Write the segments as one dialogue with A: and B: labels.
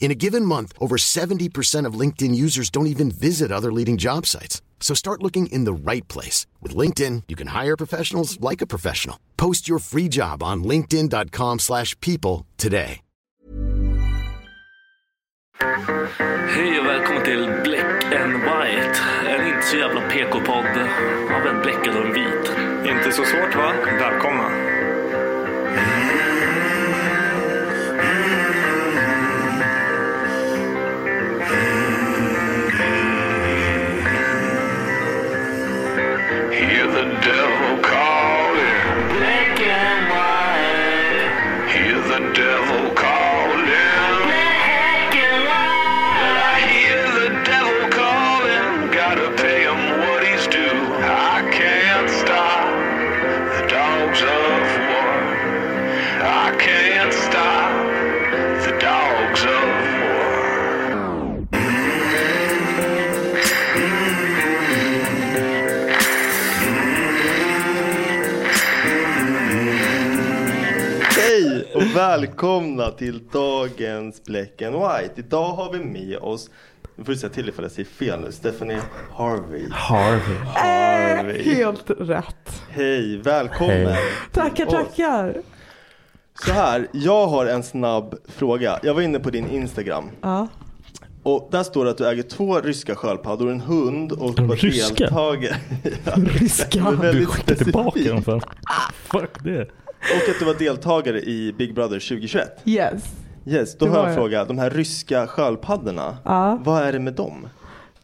A: In a given month, over 70% of LinkedIn users don't even visit other leading job sites. So start looking in the right place. With LinkedIn, you can hire professionals like a professional. Post your free job on linkedin.com/people slash people today.
B: Hej och välkommen till Black and White. En inte så jävla PK-podd av en bläckad och en vit.
C: Inte så svårt va? Välkomna.
B: Hear the devil calling. Black and white. Hear the devil calling. Black and white. I hear the devil calling. Gotta pay him what he's due. I can't stop the dogs of war. I can't stop the dogs of war.
D: Hej och välkomna till dagens Black and White. Idag har vi med oss, nu får du säga till ifall jag säger fel nu, Stephanie Harvey. Harvey. Harvey.
E: Helt rätt.
D: Hej, välkommen.
E: Tackar,
D: Och
E: tackar.
D: Så här, jag har en snabb fråga. Jag var inne på din Instagram.
E: Ja.
D: Och där står det att du äger två ryska sköldpaddor, en hund och
C: de
D: på
C: ryska?
D: deltagare. Ja,
C: Ryska?
D: det är väldigt
C: Du skickar tillbaka
D: specifikt. Ah,
C: dem för. Fuck det.
D: Och att du var deltagare i Big Brother 2021.
E: Yes.
D: Yes, då
E: Det
D: har
E: var
D: jag en
E: jag.
D: fråga. De här ryska sköldpaddorna,
E: Ja.
D: vad är det med dem?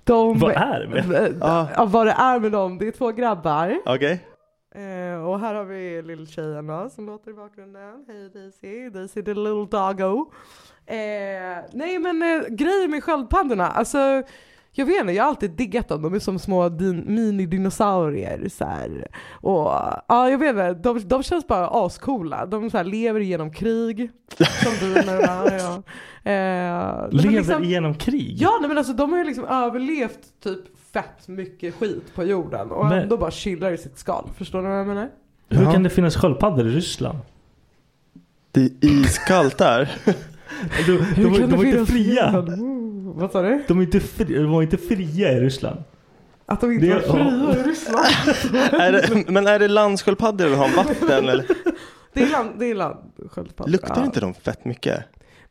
E: De,
C: Vad är det med?
E: Eh, Ja, vad det är med dem. Det är två grabbar.
D: Okej?
E: Eh, och här har vi lilltjejen då, som låter i bakgrunden. Hej Daisy, Daisy the little doggo. Eh, nej men eh, grejen med sköldpaddorna, alltså jag vet inte, jag har alltid diggat dem. De är som små din, minidinosaurier. Så här. Och, ja, jag vet inte, de, de känns bara ascoola. De så här, lever genom krig. Som du när de här, ja. eh, nej, men
C: Lever
E: liksom-
C: igenom krig?
E: Ja, nej, men alltså de har ju liksom överlevt typ
F: fett mycket skit på jorden och
G: Men-
F: ändå bara chillar i sitt skal. Förstår ni vad jag menar?
G: Hur kan det finnas sköldpaddor i Ryssland?
H: Det är iskallt där.
G: De, de,
F: Hur
G: de,
F: kan det
G: var inte
F: finnas
G: fria.
F: fred? Mm, Vad sa du?
G: De, är inte fri, de var inte fria i Ryssland.
F: Att de inte
G: Det-
F: var fria i Ryssland?
H: är det, men är det landsköldpaddor eller har de vatten? Eller?
F: Det är land, det är land sköldpaddor.
H: Luktar
F: Ja.
H: inte de fett mycket?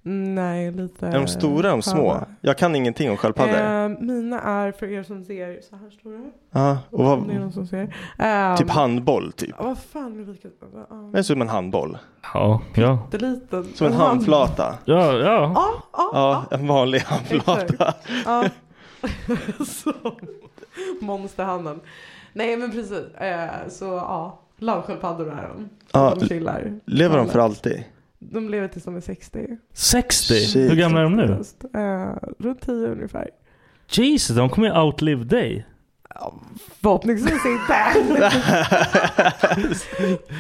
F: Nej, lite.
H: Är de stora eller de små? Jag kan ingenting om sköldpaddor.
F: Eh, mina är för er som ser så här stora.
H: Ja, och vad-
F: Om det är någon som ser. Ehm,
H: Typ handboll typ.
F: Vad fan Ulrika? Ja,
H: Det är som en handboll.
G: Ja, ja.
F: Det är liten.
H: Som en handflata.
G: Ja, ja.
F: Ja,
H: ja en vanlig handflata.
F: Ja. så. Monsterhanden. Nej men precis. Eh, så ja. Lavsköldpaddor är de.
H: Ja,
F: de chillar.
H: Lever de för alltid?
F: De lever tills de är 60.
G: 60?
H: Shit.
G: Hur gamla är de nu?
F: Eh, runt 10 ungefär.
G: Jesus, de kommer ju outlive dig.
F: Förhoppningsvis inte.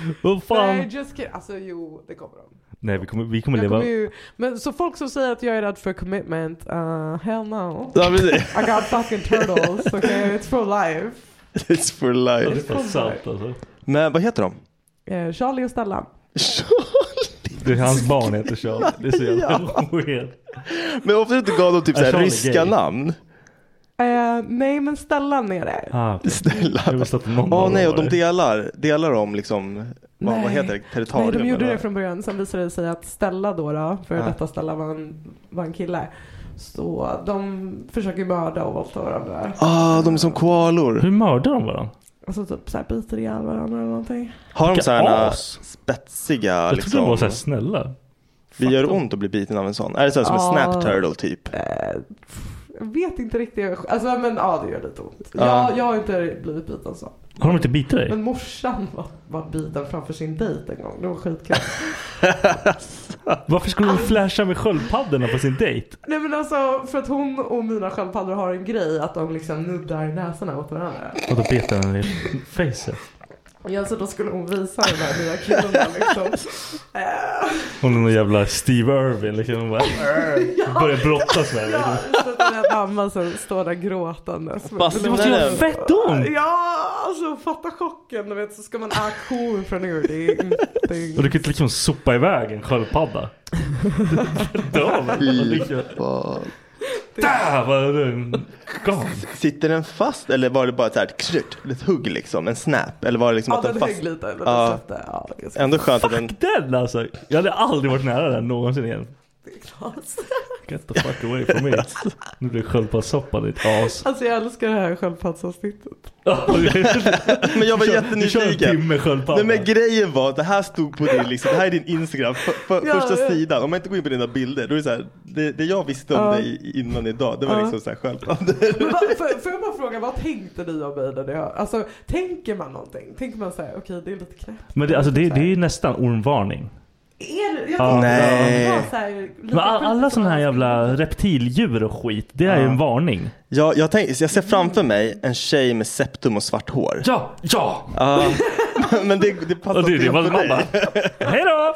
G: Vad fan?
F: Nej just kidding. Alltså jo det kommer de.
G: Nej, vi kommer, vi kommer
F: Jag
G: leva...
F: kommer ju, men så folk som säger att jag är rädd för commitment, uh, hell no.
H: Ja, precis.
F: I got fucking turtles, okay? It's for life.
H: It's for life.
F: Det är fan sant,
G: alltså.
H: Men vad heter de?
F: Eh, Charlie och Stellan.
G: Det är hans barn heter Charlie. Det är så jävla
H: Ja.
G: weird.
H: Men ofta inte gav de typ
G: Är
H: såhär
G: Charlie
H: ryska
G: gay?
H: namn.
F: Eh, nej men Stellan är det.
G: Ah,
H: Snälla.
G: Jag visste att någon
H: Åh
G: av dem
H: nej, och
G: var
H: de
G: det.
H: delar, delar om liksom, vad, vad
F: Nej.
H: heter det, territorium?
F: Nej de gjorde
H: eller? Ah.
F: det från början, sen visade det sig att Stella då, då för
H: Ja.
F: detta Stella var en, var en kille. Så de försöker mörda och våldta varandra.
H: Ah, de är som koalor.
G: Hur mördar de varandra?
F: Alltså typ såhär biter ihjäl varandra eller någonting.
H: Har de
G: Vilka
H: sådana
G: as.
H: spetsiga
G: Jag
H: liksom?
G: trodde de var så här snälla.
H: Vi gör ont att bli biten av en sån. Är det så här som
F: Ja.
H: en snap turtle typ?
F: Jag vet inte riktigt. Alltså men ja det gör lite ont.
H: Ja.
F: Jag, jag har inte blivit biten så.
G: Har de inte bitit dig?
F: Men morsan var, var biten framför sin dejt en gång. Det var skitkul.
G: Varför skulle de flasha med sköldpaddorna på sin dejt?
F: Nej men alltså för att hon och mina sköldpaddor har en grej att de liksom nuddar näsorna åt varandra.
G: Och då bet han i facet.
F: Ja så då skulle hon visa den där lilla killen liksom. Eh,
G: Hon är någon jävla Steve Irwin liksom. Hon bara, börjar brottas med
F: Ja,
G: henne.
F: så att den där mamman som står där gråtandes.
G: Fast det måste göra fett ont!
F: Ja, alltså fatta chocken. Du vet så ska man auktion från ur. Det är inte...
G: Och du kan inte liksom sopa iväg en sköldpadda.
H: Fan.
G: Där var den gone.
H: Sitter den fast eller var det bara ett så här krutt, ett hugg liksom? En snap? Eller var det liksom
F: Ja,
H: att den
F: den
H: fast?
F: högg lite, men den släppte. Ja, ganska-
H: Ändå skönt att den...
G: Den alltså. Jag hade aldrig varit nära den någonsin igen. Get the fuck away from me. Nu blir det sköldpaddssoppa ditt as.
F: Alltså jag älskar det här sköldpaddsavsnittet.
H: Men jag var
G: Du kör- Du kör en
H: jättenyfiken.
G: timme sköldpadda.
H: Nej men grejen var att det här stod på din, liksom, det här är din Instagram, för, för,
F: Ja,
H: första
F: ja.
H: sidan. Om man inte går in på dina bilder, då är det så här, det, det jag visste om
F: Ja.
H: dig innan idag, det var
F: Ja.
H: liksom så här sköldpaddor.
F: Men vad, får, får jag bara fråga, vad tänkte ni om mig när ni hör? Alltså tänker man någonting? Tänker man såhär, okej det är lite knäppt.
G: Men det, alltså, det, det är ju nästan ormvarning.
F: Är det, jag
G: Ja.
F: tänkte
G: Nej.
F: att det var så här, lite
G: Men all,
F: sjukt.
G: alla sådana här jävla reptildjur och skit, det är ju en varning.
H: Jag, jag, tänk, jag ser framför mig en tjej med septum och svart hår.
G: Ja, ja!
H: Ja, men det, det passar
G: Och det, det
H: fel
G: var
H: för dig.
G: mamma. Hej då!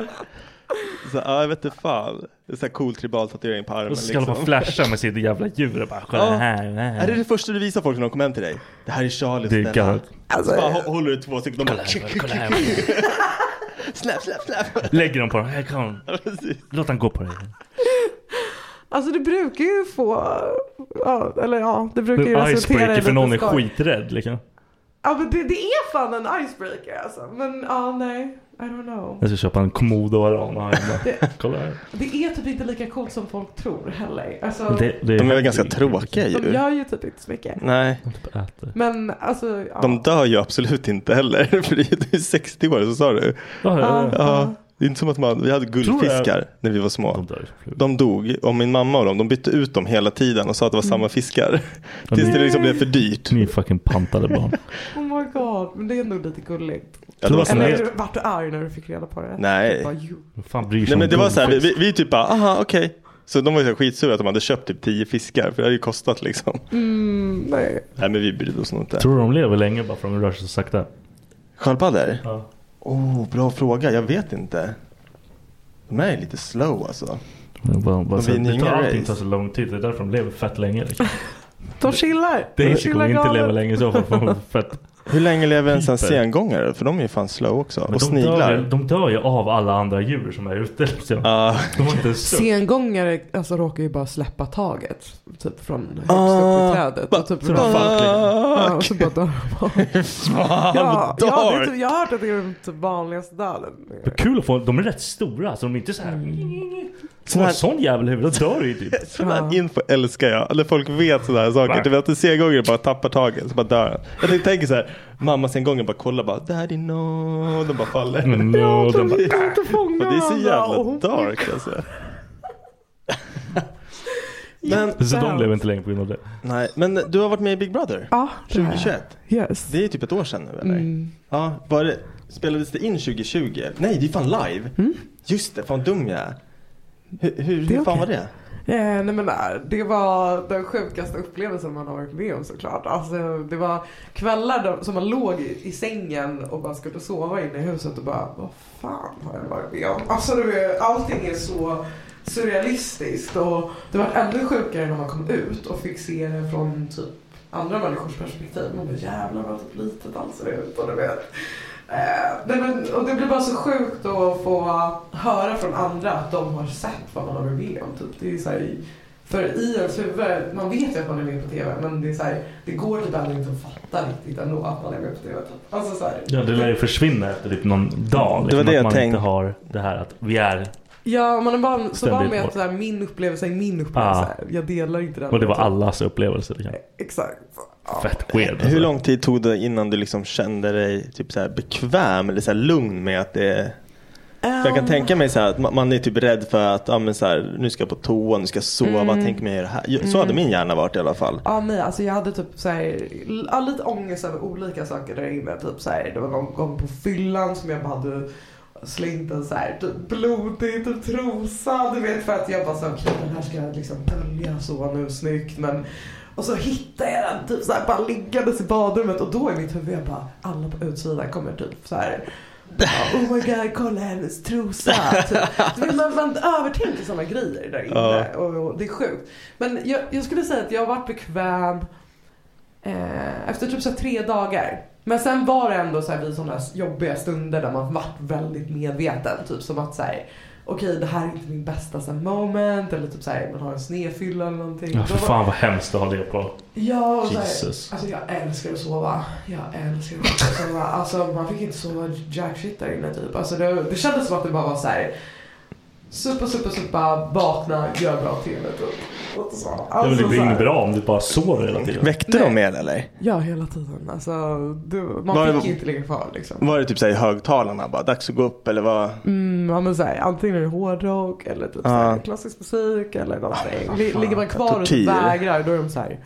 H: Så, ja, jag vet inte fan. Det är så här cool tribal tatuering på armen. liksom.
G: Och så ska de bara flasha med sitt jävla djur och bara kolla
H: Ja.
G: här, här.
H: Är det det första du visar folk när de kommer hem till dig? Det här är Charlie
G: Det är
H: och Stella.
G: galet.
H: Alltså, bara hå- håller du två stycken. De
G: Kolla
H: bara...
G: här, kolla här.
H: Släpp, släpp, släpp.
G: Lägger dem på dem. Här kom. Låt han gå på dig.
F: Alltså det brukar ju få, ja, eller ja, det brukar ju
G: En
F: resultera i
G: icebreaker
F: lite
G: för någon är
F: skoj.
G: skiträdd liksom.
F: Ja men det, det är fan en icebreaker alltså. Men ja, nej. I don't know.
G: Jag ska köpa en komodo varan och ha hemma.
F: Det-
G: Kolla här.
F: Det är typ inte lika coolt som folk tror heller. Alltså,
G: Det- det-
H: De är väl ganska tråkiga
F: de
H: djur?
F: gör ju typ inte så mycket.
H: Nej,
F: Men alltså, ja.
H: de dör ju absolut inte heller. För det är- det är 60 år, så sa du.
G: Ja, ja, ja.
H: Ja, det är inte som att man, vi hade
G: Tror
H: guldfiskar när vi var små. De dog, och min mamma och dem, de bytte ut dem hela tiden och sa att det var samma fiskar. Tills det liksom blev för dyrt.
G: Ni är fucking pantade barn.
F: Oh my god, men det är nog lite gulligt.
H: Ja, det var
F: Eller
H: snällt.
F: är du- vart du arg när du fick reda på det?
H: Nej.
F: Du bara, "Jo."
G: Vad fan bryr
H: Nej
G: sig
H: men
G: om
H: det var så här, vi,
G: guldfisk?
H: vi, vi typ bara, aha okej. Så de var ju så här skitsura att de hade köpt typ 10 fiskar för det hade ju kostat liksom.
F: Mm, nej.
H: Nej men vi brydde oss nog inte.
G: Tror du de lever länge bara för att de rör sig så sakta?
H: Sköldpaddor?
G: Ja.
H: Oh, bra fråga, jag vet inte. De är ju lite slow alltså.
G: Jag Bara, bara,
H: De
G: så här,
H: vinner
G: det tar
H: inga
G: allting
H: race.
G: tar så lång tid. Det är därför de lever fett länge. Liksom.
F: De chillar. De
G: Daisy
F: chillar
G: kommer inte
F: galet.
G: leva länge i så fall. för hon är Fett.
H: Hur länge lever ens en
G: Piper.
H: sengångare? För de är ju fan slow också.
G: Men
H: och
G: de,
H: sniglar.
G: dör, ju- de dör ju av alla andra djur som är ute. Liksom. De har inte en suck.
F: Sengångare alltså, råkar ju bara släppa taget. Typ från högst
G: Ah.
F: upp i trädet. Och typ
G: Så de fuck, liksom.
F: Ja, och så bara dör de.
G: Fan,
F: ja,
G: vad
F: ja, det är
G: dark.
F: typ, jag har hört att det är den typ vanligaste döden.
G: Men Kul att få, de är rätt stora så de är inte så här.
H: Mm. Sån här-
G: en sån jävel i huvudet dör ju typ.
H: Sån här info älskar jag. När folk vet sådana här saker. Du vet att sengångare bara tappar taget. Så bara dör han. Jag tänkte- tänker så här. Mamma sengångare bara kollar bara. Daddy no. De bara faller.
G: No,
H: Ja,
G: de bara-
H: inte
F: fånga
H: Det är så jävla
F: alla.
H: dark alltså.
G: Så de lever inte länge på grund av det.
H: Nej, men du har varit med i Big Brother?
F: Ja, det har jag.
H: 2021?
F: Yes.
H: Det är typ ett år sedan nu eller?
F: Mm.
H: Ja, var det, spelades det in 2020? Nej, det är fan live. Just det, fan dum jag är. Hur, hur, hur
F: Mm. Det är
H: fan var
F: okej.
H: det?
F: Eh, nej men eh, det var den sjukaste upplevelsen man har varit med om såklart. Alltså, det var kvällar då, som man låg i, i sängen och bara skulle sova inne i huset och bara vad fan har jag varit med om? Alltså det är, allting är så surrealistiskt och det var ännu sjukare när man kom ut och fick se det från typ andra människors perspektiv. Man bara jävlar vad typ litet allt ser ut och du vet. Eh, nej, men, och det blir bara så sjukt att få höra från andra att de har sett vad man har varit med om. Typ. Det är så här, för i ens huvud, man vet ju att man är med på TV men det, är så här, det går typ ändå inte att fatta riktigt ändå att man är med på TV. Typ. Alltså, så här,
G: Ja, det lär ju försvinna efter typ någon dag.
H: Det var det
G: att
H: jag
G: man
H: tänkte.
G: inte har det här att vi är...
F: Ja, man är bara så van
G: Ständigt
F: med
G: mål.
F: att så här, min upplevelse är min upplevelse. Jag delar inte den.
G: Och det var allas upplevelse. Liksom.
F: Exakt.
G: Fett weird. Alltså.
H: Hur lång tid tog det innan du liksom kände dig typ så här bekväm eller så här lugn med att det är... För jag kan
F: Ehm.
H: tänka mig så här att ma- man är typ rädd för att ah, men så här, nu ska jag på toa, nu ska jag sova,
F: Mm.
H: tänk mig det här. Så
F: Mm.
H: hade min hjärna varit i alla fall.
F: Ja nej alltså jag hade typ så här, ja, lite ångest över olika saker där inne. Typ så här, det var någon gång på fyllan som jag bara hade slängt en så här typ blodig typ trosa. Du vet för att jag bara så okej den här ska jag liksom dölja så nu snyggt. Men, och så hittade jag den typ så här bara liggandes i badrummet och då i mitt huvud jag bara alla på utsidan kommer typ så här bara, Oh my god, kolla hennes trosa. Typ. Du vet, Man, man övertänker sådana grejer där inne.
H: Ja.
F: Och, och det är sjukt. Men jag, jag skulle säga att jag har varit bekväm eh, efter typ så här tre dagar. Men sen var det ändå så här vid sådana jobbiga stunder där man varit väldigt medveten. Typ som att så här, okej det här är inte min bästa så här, moment. Eller typ så här, man har en snedfylla eller någonting.
G: Ja,
F: Då
G: för
F: var-
G: fan vad hemskt att ha det på.
F: Ja, och så här,
G: Jesus.
F: alltså jag älskar att sova. Jag älskar att sova. Alltså man fick inte sova jack shit där inne typ. Alltså det, det kändes som att det bara var så här. Supa, supa, supa, vakna, gör bra TV typ. Och så.
G: det är
F: Alltså,
G: väl
F: så
G: det
F: här-
G: inget bra om du bara sover hela tiden.
H: Väckte de er eller?
F: Ja, hela tiden. Alltså, du, man
H: Var det-
F: fick ju inte ligga kvar liksom.
H: Var det typ så här i högtalarna bara, dags att gå upp eller vad?
F: Mm, ja, men så här, antingen är det hårdrock eller typ så
H: Ja. Ah,
F: här, klassisk musik eller någonting. Li- Ligger man kvar och
H: Tortyr.
F: typ vägrar då är de så här.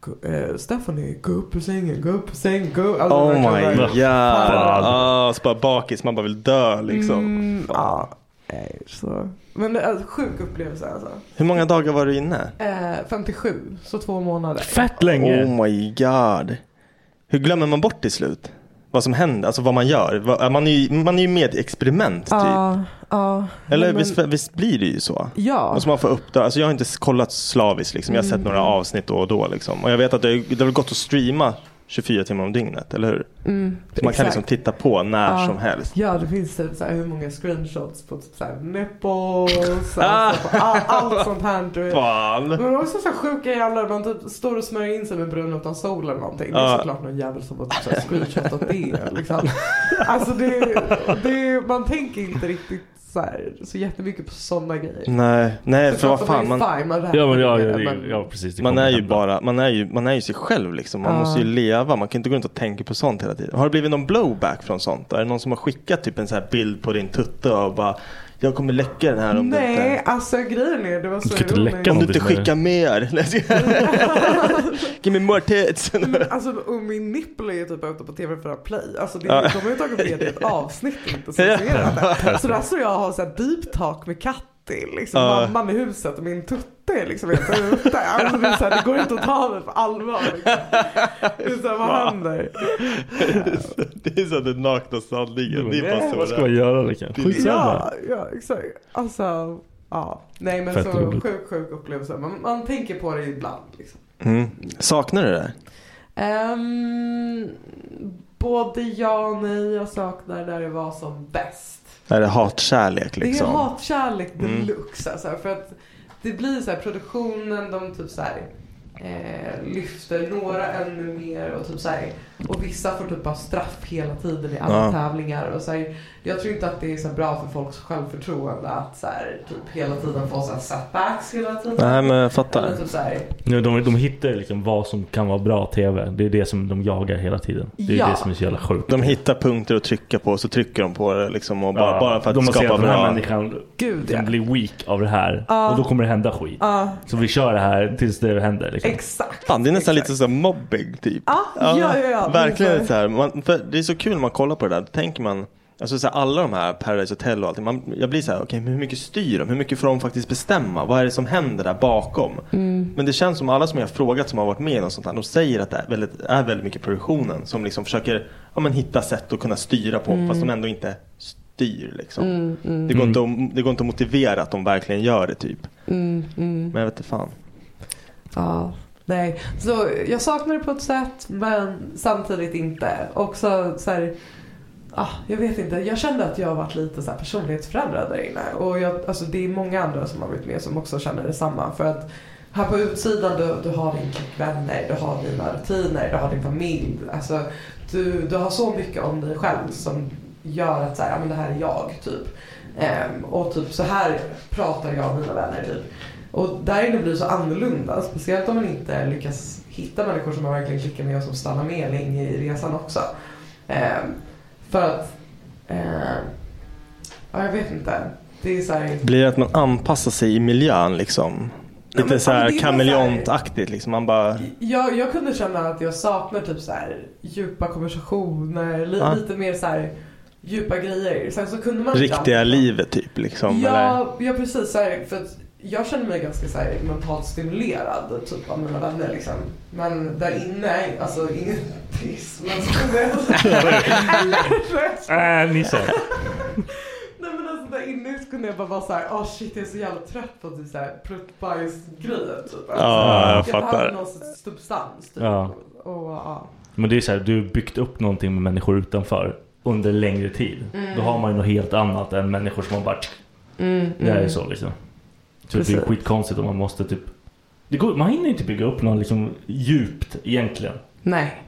F: "Gå- Eh, Stephanie, gå upp ur sängen, gå upp ur sängen, gå upp. Alltså,
H: oh
F: verkligen
H: my
F: så
H: god.
F: här, Fan.
H: Ah, så bara bakis, man bara vill dö liksom.
F: Mm, ja, nej, så. Men alltså, sjuk upplevelse alltså.
H: Hur många dagar var du inne?
F: Eh, 57, så två månader.
H: Oh my god. Hur glömmer man bort till slut? Vad som händer, alltså vad man gör. Vad- Man är ju, man är ju med i ett experiment typ.
F: Ja, ja.
H: Eller
F: Nej, men-
H: visst, visst blir det ju så?
F: Ja.
H: Och så man får upp det. Alltså jag har inte s- kollat slaviskt liksom. Jag har sett
F: Mm.
H: några avsnitt då och då liksom. Och jag vet att det, har- det har gått att streama 24 timmar om dygnet, eller hur?
F: Mm,
H: så man kan
F: exakt.
H: liksom titta på när
F: Ja.
H: som helst.
F: Ja, det finns typ så här, hur många screenshots på typ så här, nipples, alltså, på all, allt sånt här. Du vet.
H: Fan.
F: Men det var också så här sjuka jävlar, man typ står och smörjer in sig med brun utan sol eller någonting. Det
H: Ja.
F: är såklart någon jävel som har typ så här screenshotat det. Liksom. Alltså det, det, man tänker inte riktigt så, här, så jättemycket på sådana grejer.
H: Nej, nej
F: Såklart
H: för vad fan.
F: att man är fine, man räknar med det, men-
G: precis,
H: man
G: kommer
H: är ju
G: hända.
H: bara, man är ju, man är ju sig själv liksom. Man
F: Ja.
H: måste ju leva. Man kan inte gå runt och tänka på sånt hela tiden. Har det blivit någon blowback från sånt? Är det någon som har skickat typ en sån här bild på din tutte och bara jag kommer läcka den här om du inte...
F: Nej, alltså grejen är det var så ironiskt.
H: Om du inte skickar mer. Nej, jag skojar. Give me more tits.
F: Men Alltså, och min nippel är ju typ ute på TV4 Play. Alltså, det,
H: Ja.
F: De har ju tagit med det i ett avsnitt och inte censurerat det. Så där står jag och har så här deep talk med Katti, liksom,
H: Ja.
F: mamman i huset och min tutte är liksom inte ute. Alltså, det, är så här, det går inte att ta det på allvar. Liksom. Det är så här, vad händer?
H: Det är så den nakna sanningen. Det är bara
G: Nej,
H: så
G: vad ska
H: där.
G: man göra liksom? Skitsamma.
F: Ja, ja, exakt. Alltså, ja. Nej men
G: Fett
F: så
G: roligt.
F: sjuk, sjuk upplevelse. Man, man tänker på det ibland. Liksom.
D: Mm. Saknar du det?
E: Ehm, både ja och nej. Jag saknar när det var som bäst.
D: Är det hatkärlek liksom?
E: Det är hatkärlek
D: Mm.
E: deluxe alltså. För att det blir så här produktionen, de typ så här eh, lyfter några ännu mer och typ så här. Och vissa får typ bara straff hela tiden i alla
D: Ja.
E: tävlingar. Och så här, jag tror inte att det är så bra för folks självförtroende att så här, typ hela tiden få så här setbacks hela tiden.
D: Nej men jag fattar.
E: Eller typ så här,
G: Nu, de, de hittar ju liksom vad som kan vara bra TV. Det är det som de jagar hela tiden. Det är
E: Ja.
G: det som är så jävla sjukt.
D: De hittar punkter att trycka på och så trycker de på det liksom och bara,
G: Ja,
D: bara för att
G: de har sett
D: skapa
G: att den här
D: bra.
G: människan
E: Gud,
G: den blir weak av det här.
E: Ja.
G: Och då kommer det hända skit.
E: Ja.
G: Så vi kör det här tills det händer. Liksom.
E: Exakt.
D: Fan, det är nästan lite som mobbing typ.
E: ja, ja, ja.
D: Verkligen
E: Varför?
D: så här. Man, för det är så kul när man kollar på det där. Då tänker man, alltså så här, alla de här Paradise Hotel och allting. Man, jag blir så här, okej men hur mycket styr de? Hur mycket får de faktiskt bestämma? Vad är det som händer där bakom? Men det känns som alla som jag har frågat som har varit med i något sånt här. De säger att det är väldigt, är väldigt mycket produktionen som liksom försöker ja, men hitta sätt att kunna styra på.
E: Mm.
D: Fast de ändå inte styr liksom.
E: Mm, mm.
D: Det, går inte att, det går inte att motivera att de verkligen gör det typ.
E: Mm, mm.
D: Men jag vet inte fan.
E: Ja. Nej, så jag saknar det på ett sätt men samtidigt inte. Också så här, ah, jag vet inte, jag kände att jag har varit lite så här personlighetsförändrad där inne. Och jag, alltså, det är många andra som har varit med som också känner detsamma. För att här på utsidan du, du har din klick vänner, du har dina rutiner, du har din familj. Alltså, du, du har så mycket om dig själv som gör att så här, ja, men det här är jag typ. Ehm, och typ så här pratar jag med mina vänner typ. Och där inne blir det så annorlunda. Speciellt om man inte lyckas hitta människor som man verkligen klickar med och som stannar med länge i resan också. Ehm, för att... Eh, ja, jag vet inte. Det är så här...
D: Blir det att man anpassar sig i miljön liksom? Lite
E: men-
D: så
E: ja, men
D: här
E: det är bara så här-
D: kameleontaktigt liksom. Man bara...
E: Jag, jag kunde känna att jag saknar typ så här djupa konversationer, li,
D: Ja.
E: lite mer så här djupa grejer. Sen så kunde man inte
D: Riktiga livet typ liksom. Eller?
E: Ja, ja precis. Så här, för att jag känner mig ganska så här, mentalt stimulerad typ, av mina vänner. Liksom. Men där inne, alltså inget piss. Men
G: Äh, Nisse.
E: Nej men alltså där inne så kunde jag bara vara såhär, ah shit jag är så jävla trött på typ såhär pruttbajsgrejer typ. Alltså,
G: jag
E: behöver
G: fattar.
E: någon sorts substans typ.
G: Ja.
E: Och, ja.
G: Men det är så här, du har byggt upp någonting med människor utanför under längre tid.
E: Mm.
G: Då har man ju något helt annat än människor som har bara...
E: Mm,
G: Det här är
E: mm.
G: så liksom. Så det
E: Precis.
G: blir skitkonstigt om man måste typ... Det går, man hinner ju inte bygga upp något liksom djupt egentligen.
E: Nej.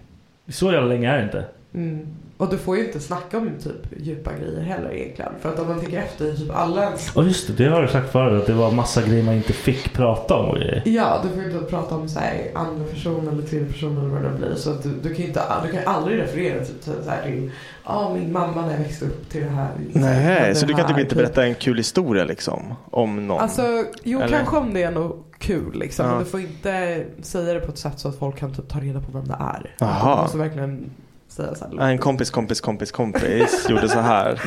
G: Så jävla länge är det inte.
E: Mm. Och du får ju inte snacka om typ djupa grejer heller egentligen. För att om man tänker efter typ alla ens...
G: Ja just det, det har du sagt förut att det var massa grejer man inte fick prata om och grejer.
E: Ja, du får ju inte prata om så här, andra person eller tredje person eller vad det blir. Så att du, du kan ju inte, du kan ju aldrig referera typ, till så här, till ah, min mamma när jag växte upp till det här.
D: Nej, så
E: det
D: du kan
E: här,
D: typ inte berätta en kul historia liksom? Om någon?
E: Alltså, jo
D: Eller?
E: kanske om det är något kul liksom.
D: Ja.
E: Men du får inte säga det på ett sätt så att folk kan typ ta reda på vem det är.
D: Jaha.
E: Du måste verkligen säga så
D: Ja,
E: här.
D: En kompis kompis kompis kompis gjorde så här.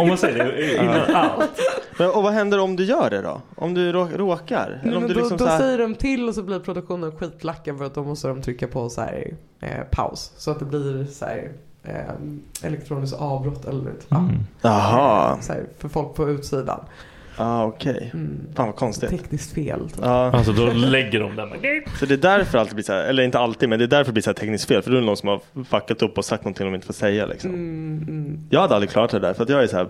G: om man säger det innan allt.
D: Men, och vad händer om du gör det då? Om du rå- råkar? Eller
E: Nej,
D: om
E: men
D: du
E: då,
D: liksom
E: då
D: så här-
E: säger de till och så blir produktionen skitlacka för att då måste de trycka på så här, eh, paus. Så att det blir så här, eh, elektroniskt avbrott
G: Mm.
E: eller typ. ja.
D: Jaha.
E: Så här, för folk på utsidan.
D: Ja Ah, okej. Fan vad konstigt.
E: Mm. Tekniskt fel.
D: Ja.
G: Alltså då lägger de den.
D: Så det är därför alltid blir så här, eller inte alltid men det är därför det blir så här tekniskt fel. För då är det någon som har fuckat upp och sagt någonting de inte får säga liksom.
E: Mm, mm.
D: Jag hade aldrig klarat det där för att jag är så här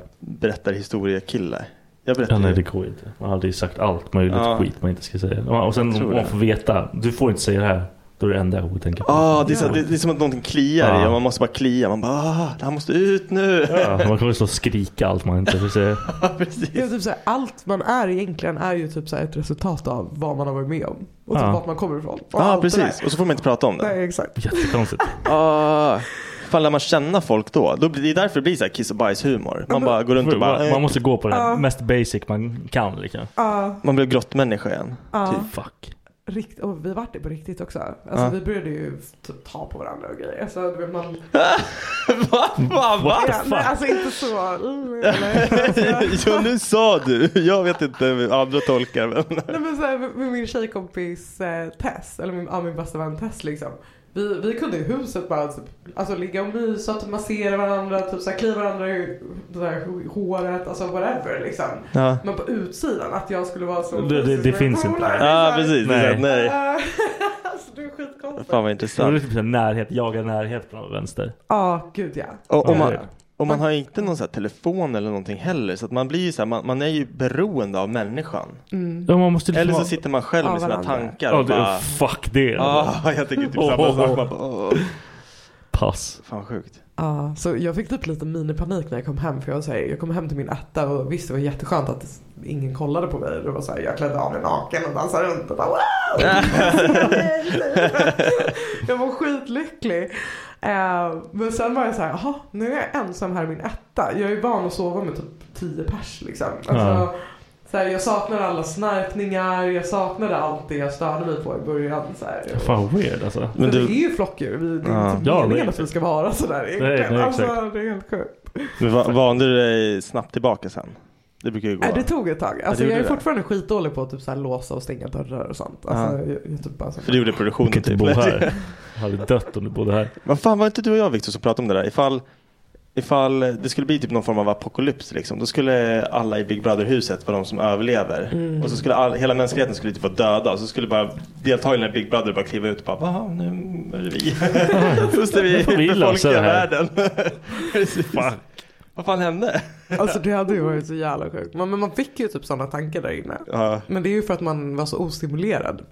D: berättarhistoriekille. Jag berättar
G: Ja, nej
D: ju-
G: det går ju inte. Man hade ju sagt allt möjligt
D: Ja.
G: skit man inte ska säga. Ja, Och sen
D: Jag tror
G: om man
D: det.
G: får veta. Du får inte säga det här. Då är det enda jag tänker på.
D: Ah, det, är så, det, det är som att någonting kliar i
G: Ja.
D: och man måste bara klia. Man bara ah, det här måste ut nu.
G: Ja, man kommer stå och skrika allt man inte får säga.
E: Det är typ så här, allt man är egentligen är ju typ så här ett resultat av vad man har varit med om. Och typ
G: Ja.
E: vart man kommer ifrån. Och
D: Ja,
E: allt det
D: precis.
E: där.
D: Och så får man inte prata om det.
E: Nej, exakt.
G: Jättekonstigt.
D: Ah, fan lär man känna folk då? då blir, det är därför det blir så här kiss och bajshumor. Man bara går runt och bara eh,
G: Man måste gå på det
E: Ja.
G: här. mest basic man kan. Liksom.
E: Ja,
D: man blir grottmänniska igen.
E: ja.
D: Typ.
G: Fuck.
E: Rikt- och vi vart det på riktigt också. Alltså
D: Ja.
E: vi började ju typ ta på varandra och grejer. Alltså, du vet, man...
D: Fan va?
E: ja, nej, alltså inte så. Mm, eller, alltså,
D: jo nu sa du. Jag vet inte hur andra tolkar men.
E: nej, men så här, med min tjejkompis eh, Tess, eller min, ja, min bästa vän Tess liksom. Vi, vi kunde i huset bara typ, alltså, ligga och mysa, typ, massera varandra, typ, så här, klia varandra i det där, håret, alltså whatever liksom.
D: Ja.
E: Men på utsidan, att jag skulle vara så.
G: Det, det, det finns inte.
D: Ja, precis. Det är så här, nej.
E: alltså du är skitkonstig.
D: Fan vad intressant.
G: Det är typ så här närhet, jaga närhet på vänster.
E: Ja, gud ja.
D: Och, och,
E: Ja,
D: man,
E: ja.
D: och man har inte någon så här telefon eller någonting heller. Så att man blir ju så här, man, man är ju beroende av människan.
E: Mm.
G: Ja, man måste liksom
D: eller så
G: ha-
D: sitter man själv
G: Ja,
D: med sina
G: varandra.
D: tankar
G: Ja,
D: och
G: det- oh,
D: bara...
G: fuck det.
D: Ja, jag tycker typ samma
G: Oh, oh, oh.
D: sak. Man bara, åh.
G: Pass.
D: Fan sjukt.
E: Ja, så jag fick typ lite minipanik när jag kom hem. För jag, var så här, jag kom hem till min etta och visst det var jätteskönt att ingen kollade på mig. Det var så här, jag klädde av mig naken och dansade runt och bara wow! jag var skitlycklig. Eh, men sen var jag så här, jaha nu är jag ensam här i min etta. Jag är ju van att sova med typ tio pers liksom. Alltså,
G: Ja.
E: så här, jag saknade alla snarkningar, jag saknade allt det jag störde mig på i början. Så här.
G: Fan weird alltså.
E: Men du... Det är ju flockdjur. Vi- Det är
D: Ja.
E: inte
D: Ja,
E: meningen
D: det-
E: att vi ska vara sådär egentligen.
D: Nej, nej,
E: alltså,
D: exakt.
E: det är helt sjukt.
D: Men va- vande du dig snabbt tillbaka sen? Det brukar ju gå.
E: Nej, det tog ett tag.
D: Ja,
E: Alltså,
D: det
E: jag är
D: gjorde det.
E: fortfarande skitdålig på att typ, så här, låsa och stänga dörrar och sånt. Alltså, jag, jag, typ bara, så-
D: För det gjorde produktionen
G: Du kan
D: typ.
G: inte bo här. Jag hade dött om du bodde här.
D: Vad fan var inte du och jag Victor som pratade om det där? Ifall, ifall det skulle bli typ någon form av apokalyps liksom. Då skulle alla i Big Brother-huset vara de som överlever.
G: Mm.
D: Och så skulle all, hela mänskligheten skulle typ vara döda. Och så skulle bara deltagarna i Big Brother bara kliva ut och bara Jaha, nu är det vi. Så måste vi
G: Vi löser det
D: befolka
G: här.
D: världen. Precis. Vad fan hände?
E: alltså, det hade ju varit så jävla sjukt. Men, men man fick ju typ sådana tankar där inne. Men det är ju för att man var så ostimulerad.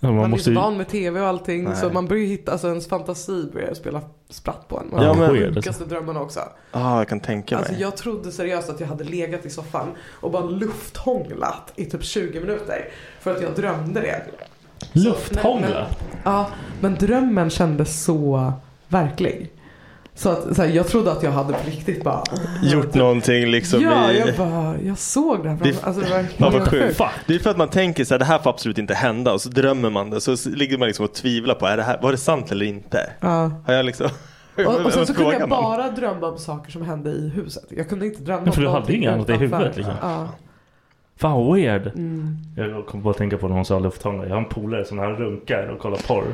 G: man
E: man
G: måste
E: är
G: ju-
E: så van med tv och allting.
D: Nej.
E: Så man börjar ju hitta, alltså, ens fantasi börjar spela spratt på en. Man
D: Ja,
E: har
D: men-
E: de sjukaste drömmarna också.
D: Ja, jag kan tänka mig.
E: Alltså jag trodde seriöst att jag hade legat i soffan och bara lufthånglat i typ 20 minuter. För att jag drömde det.
G: Lufthångla?
E: Ja, men drömmen kändes så verklig. Så att så här, jag trodde att jag hade på riktigt bara.
D: Gjort någonting liksom
E: ja,
D: i...
E: jag bara, jag såg det här
D: Det,
E: framför alltså, det var
D: fan vad
E: helt
D: sjukt. Det är för att man tänker så här, det här får absolut inte hända och så drömmer man det. Så ligger man liksom och tvivlar på, är det här, var det sant eller inte?
E: Ja.
D: Har jag liksom...
E: Och, och sen så kunde
D: Frågar
E: jag
D: man.
E: bara drömma om saker som hände i huset. Jag kunde inte drömma
G: Ja, för
E: om
G: du hade
E: någonting
G: inget annat i
E: utanför.
G: huvudet, liksom.
E: Ja.
G: Fan weird.
E: Mm.
G: Jag kom på att tänka på när hon sa lufthångla. Jag har en polare som när han runkar och kollar porr.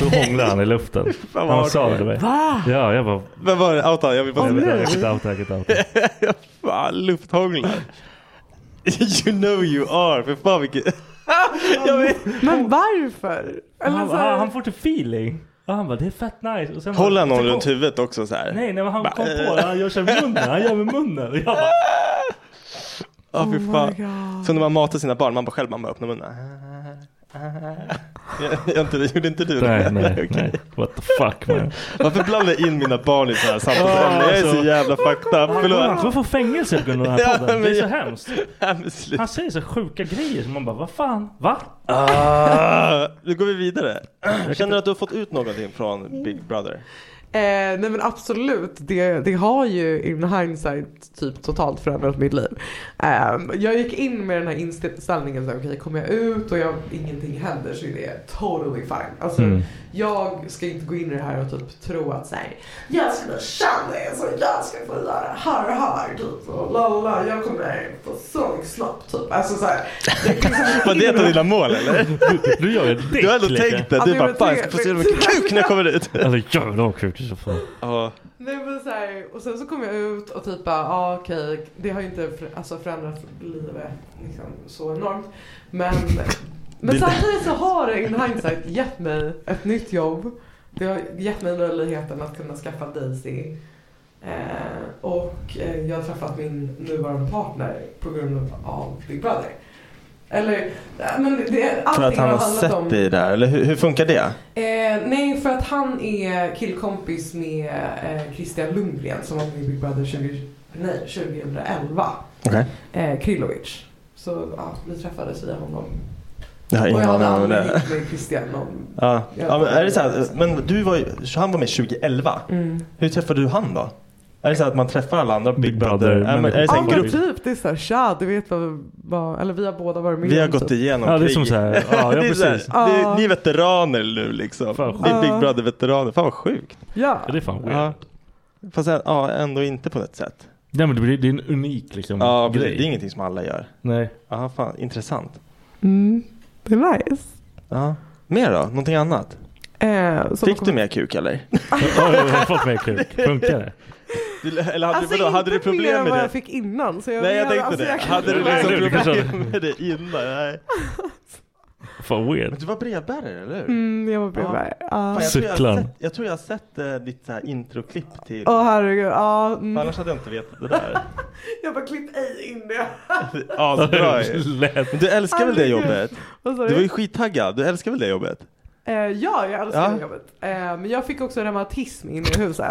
G: Då hånglar han i luften.
D: vad
G: han sa det
D: hardcore.
G: till mig.
D: Va?
G: Ja, jag bara...
D: Men var det, outa, jag vill bara...
G: Jag vet inte, jag vet inte, jag vet inte.
D: Fan, lufthånglar. you know you are. För fan vilket...
E: Men varför? Eller
G: Han,
E: så här-
G: han, han får till feeling. Och han bara, det är fett nice. Och sen bara-
D: Håller han någon
G: sen kom-
D: runt huvudet också så här?
G: Nej, nej men han
D: Bara,
G: kom på
D: eh.
G: det. Han gör sig med munnen. Han gör med munnen. Och jag bara,
D: Ja, fy fan.
E: Oh God.
D: Så när man matar sina barn, man bara själv, man bara öppnar munnen. Jag, jag, inte- gjorde inte du det?
G: nej, nej,
D: Okej.
G: nej. What the fuck man.
D: Varför blandar jag in mina barn i sådana här samtalsämnen?
G: Ja,
D: Jag är så
G: alltså.
D: jävla fucked up.
G: Skönt,
D: Förlåt.
G: Varför fängelse på grund av den här
D: Ja,
G: podden? Det
D: men
G: är så
D: jag-
G: hemskt.
D: Han
G: säger så sjuka grejer som man bara, vad fan? Va?
D: Ah, nu går vi vidare. Känner du att du har fått ut någonting från Big Brother?
E: Eh, nej men absolut, det, det har ju in hindsight typ totalt förändrat mitt liv. Ehm, jag gick in med den här inställningen så här, okej kommer jag ut och jag, ingenting händer så är det totally fine. Alltså,
B: Mm.
E: Jag ska inte gå in i det här och typ tro att så här, jag ska bli kändis och jag ska få göra här och här typ och lalla, jag kommer få sångsnopp typ. Alltså så här,
D: Var det ett av dina mål eller?
G: Du, du gör ett
D: Du har ändå tänkt det.
E: Ja,
D: Du
E: men
D: bara
E: jag
D: fan jag ska
E: tänker-
D: få se hur mycket kuk när jag kommer ut.
G: Alltså jävlar vad sjukt så fan.
D: Ja.
E: Nej men så här, och sen så kom jag ut och typ bara, ah, okej, det har ju inte för, alltså förändrat livet liksom, så enormt. Men, men
B: Det-
E: samtidigt så har det in hindsight gett mig ett nytt jobb. Det har gett mig möjligheten att kunna skaffa Daisy. Eh, och eh, jag har träffat min nuvarande partner på grund av Big Brother. Eller, eh, men det,
D: För att
E: allting
D: han har
E: handlat om-
D: sett dig i det här, eller hur, hur funkar det?
E: Eh, nej, för att han är killkompis med eh, Christian Lundgren som var med i Big Brother 20, nej, 2011.
D: Okej.
E: Eh, Krillovic. Så ja, vi träffades via honom.
D: Jag har
E: Och
D: ingen
E: jag hade
D: aning om
E: aldrig
D: det.
E: hängt med Christian om...
D: Ja. ja, men är det så här, men du var ju, han var med 2011.
E: Mm.
D: Hur träffade du han då? Är det så här att man träffar alla andra Big, Brother? Är, men, är det så här
E: Ja
D: en
E: men
D: grupp?
E: typ, det är såhär tja, du vet vad, vad eller vi har båda varit med
D: Vi har
E: om,
D: gått
E: typ.
D: igenom krig. det är så här, det är, ni är veteraner nu liksom. Ni är
E: sjukt.
D: Big Brother-veteraner. Fan vad sjukt.
E: Ja.
G: Det är fan weird.
D: Ja. Fast ä- ja, ändå inte på något sätt.
G: Nej men det, blir, det är en unik liksom
D: Ja, precis.
G: grej.
D: det är ingenting som alla gör.
G: Nej.
D: Ja, fan intressant.
E: Mm, det är nice.
D: Ja. Mer då? Någonting annat?
E: Eh, så
D: Fick
E: de
D: du
E: kommer-
D: mer kuk eller?
G: Ja, jag har fått mer kuk. Funkar det?
D: Du- Eller hade,
E: Alltså
D: du, vadå, hade
E: inte
D: du
E: mer än
D: problem med
E: vad
D: det?
E: jag fick innan. Så jag
D: Nej jag
E: menar,
D: tänkte
E: alltså,
D: det.
E: jag kan-
D: Hade du liksom
G: Nej, du kanske-
D: problem med det innan? Nej.
G: Fan weird.
D: Men du var brevbärare eller hur?
E: Mm, jag var brevbärare.
D: Ja.
E: Ja.
D: Fan, jag, tror jag, har
G: Cyklarn.
D: sett, jag tror jag har sett eh, ditt så här introklipp till...
E: Åh herregud. Ja,
D: För
E: mm.
D: annars hade jag inte vetat det där.
E: Jag bara klipp ej in det.
D: Asbra ju. Men Du älskar väl det
E: Herregud.
D: jobbet?
E: Vad sa
D: Du
E: du?
D: var ju skittaggad. Du älskar väl det jobbet?
E: Eh, ja, jag älskar
D: Ja.
E: det jobbet. Eh, men jag fick också reumatism in i huset.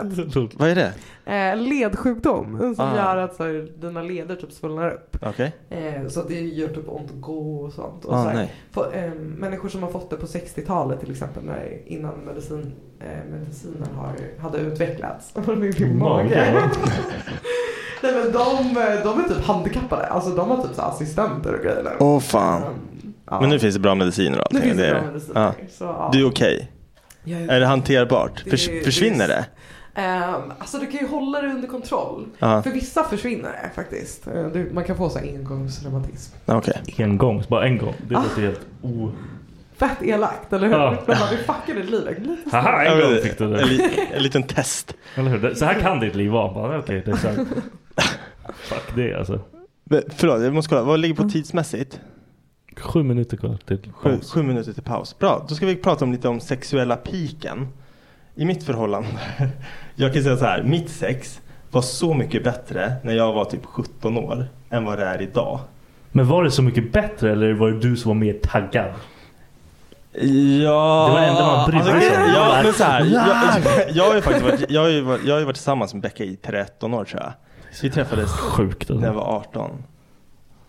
D: Vad är det?
E: Eh, ledsjukdom som
D: Ah.
E: gör att så här, dina leder typ svullnar upp.
D: Okej.
E: Eh, så det gör typ ont att gå och sånt. Och
D: Ah,
E: så här,
D: nej.
E: få- eh, människor som har fått det på 60-talet till exempel när, innan medicin, eh, medicinen har, hade utvecklats. Min mage. Nej, men de, eh, de är typ handikappade. Alltså de har typ så här assistenter och grejer nu.
D: Åh fan.
E: Ja.
D: Men nu finns det bra mediciner och
E: Nu
D: allting.
E: finns det
D: är-
E: bra mediciner,
D: Ja.
E: så, ja.
D: Du är okej?
E: Jag är-
D: Är det hanterbart?
E: Det-
D: Förs-
E: det-
D: försvinner det?
E: Ehm, alltså du kan ju hålla det under kontroll.
D: Ja.
E: För vissa försvinner det faktiskt. Eh, du, man kan få så här engångsreumatism. Ah.
D: Okej.
G: En gång, bara en gång. Det låter helt o...
E: Fett elakt, eller hur?
G: Ja.
E: De bara, vi fuckar ditt liv. Lite
G: Haha, en
D: Ja, men-
G: gång fick du det.
D: en li- En liten test.
G: Eller hur? Det- Så här kan ditt liv vara. Bara, Okej, det är så här. Fuck det alltså. Mm.
D: Men, Förlåt, jag måste kolla. Vad ligger på tidsmässigt?
G: Sju minuter kvar till
D: Sju, sju minuter till paus. Bra, då ska vi prata om lite om sexuella piken. I mitt förhållande, jag kan säga så här, mitt sex var så mycket bättre när jag var typ 17 år än vad det är idag.
G: Men var det så mycket bättre eller var det du som var mer taggad?
D: Ja, alltså,
G: Det var det enda man brydde sig om.
D: ja, men så här, jag, jag, har ju faktiskt varit, jag, har ju, varit- jag har ju varit tillsammans med Becka i 13 år tror jag. Vi träffades
G: Sjukt
D: när jag
G: alltså.
D: var 18.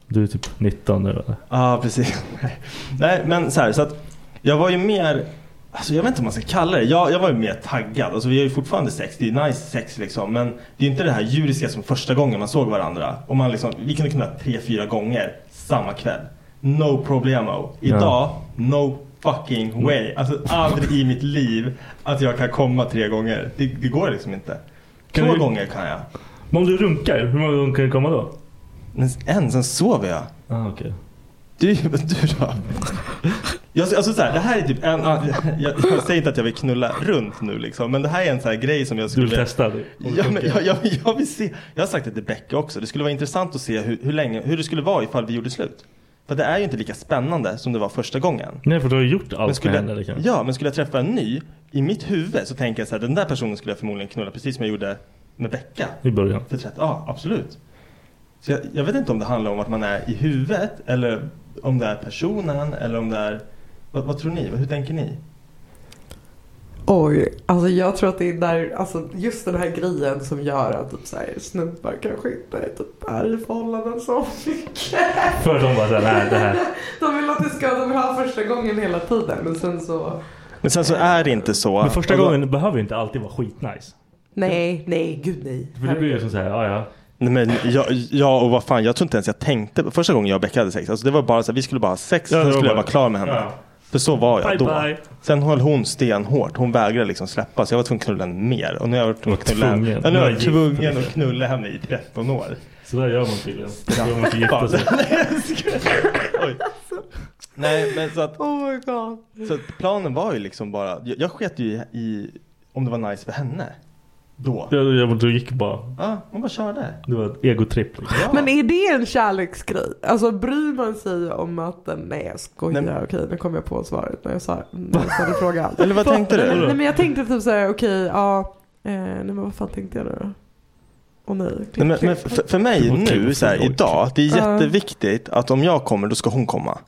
G: Du är typ 19 nu eller?
D: Ja, precis. Nej, men så här, så att jag var ju mer, alltså jag vet inte om man ska kalla det. Jag, jag var ju mer taggad. Alltså vi har ju fortfarande sex, det är nice sex liksom. Men det är inte det här djuriska som första gången man såg varandra. Och man liksom, vi kunde knulla tre, fyra gånger samma kväll. No problemo. Idag, no fucking way. Alltså aldrig i mitt liv att jag kan komma tre gånger. Det, det går liksom inte.
G: Kan
D: Två
G: du-
D: gånger kan jag.
G: Men om du runkar, hur många gånger kan du komma då?
D: Men en, sen sover jag.
G: Ah, okej.
D: Du, men du då? Jag, alltså så här, det här är typ en, jag, jag säger inte att jag vill knulla runt nu liksom, men det här är en sån här grej som jag
G: Du
D: skulle...
G: vill testa? det? Om det
D: Ja, men,
G: funkar.
D: jag, jag, jag vill se. Jag har sagt det till Becka också, det skulle vara intressant att se hur, hur, länge, hur det skulle vara ifall vi gjorde slut. För det är ju inte lika spännande som det var första gången.
G: Nej för du har ju gjort
D: Men
G: allt med henne.
D: skulle,
G: liksom.
D: ja, men skulle jag träffa en ny, i mitt huvud så tänker jag så här, den där personen skulle jag förmodligen knulla precis som jag gjorde med Becka.
G: I början.
D: För 30, ja absolut. Så jag, jag vet inte om det handlar om att man är i huvudet eller om det är personen eller om det är... Vad, vad tror ni? Hur tänker ni?
E: Oj, alltså jag tror att det är där, alltså just den här grejen som gör att typ så här, snubbar kanske inte typ är i förhållanden så mycket.
G: För de bara såhär, nej det här.
E: De vill att det ska, de vill ha första gången hela tiden men sen så
D: Men sen så är det inte så.
G: Men första gången behöver ju inte alltid vara skitnice.
E: Nej, nej, gud nej.
G: För det blir ju som såhär, ja ja.
D: Nej, men jag, jag och vad fan, jag tror inte ens jag tänkte. på- Första gången jag och Becka hade sex, alltså det var bara så här, vi skulle bara ha sex,
G: Ja, det
D: sen
G: var
D: skulle jag
G: bara-
D: vara klar med henne.
G: Ja.
D: För så var jag
G: Bye,
D: då.
G: bye.
D: Sen höll hon stenhårt. Hon vägrade liksom släppa så jag var tvungen att knulla henne mer. Och nu har jag varit tvungen att knulla henne.
G: tvungen.
D: Ja, nu har
G: Nu är jag gift.
D: jag tvungen att knulla henne i 13 år.
G: Sådär gör man tydligen. Då behöver man inte gifta sig.
D: Oj. Nej men så att
E: Oh my god.
D: Så att planen var ju liksom bara, jag, jag sket ju i, i om det var nice för henne. Då.
G: Ja, ja, men Du gick bara.
D: Ja, hon bara körde.
G: Det var ett egotripp. Liksom.
D: Ja.
E: Men är det en kärleksgrej? Alltså bryr man sig om att, nej jag skojar,
D: Nej.
E: okej nu kom jag på svaret när jag sa, när jag ställde frågan.
D: Eller vad tänkte du?
E: Nej, nej men jag tänkte typ såhär, okej, ja, eh, nej men vad fan tänkte jag nu då? Åh nej, klick,
D: Nej, men, men
E: klick.
D: för, för mig
G: typ-
D: nu, så här, idag, det är
E: Ja.
D: jätteviktigt att om jag kommer då ska hon komma.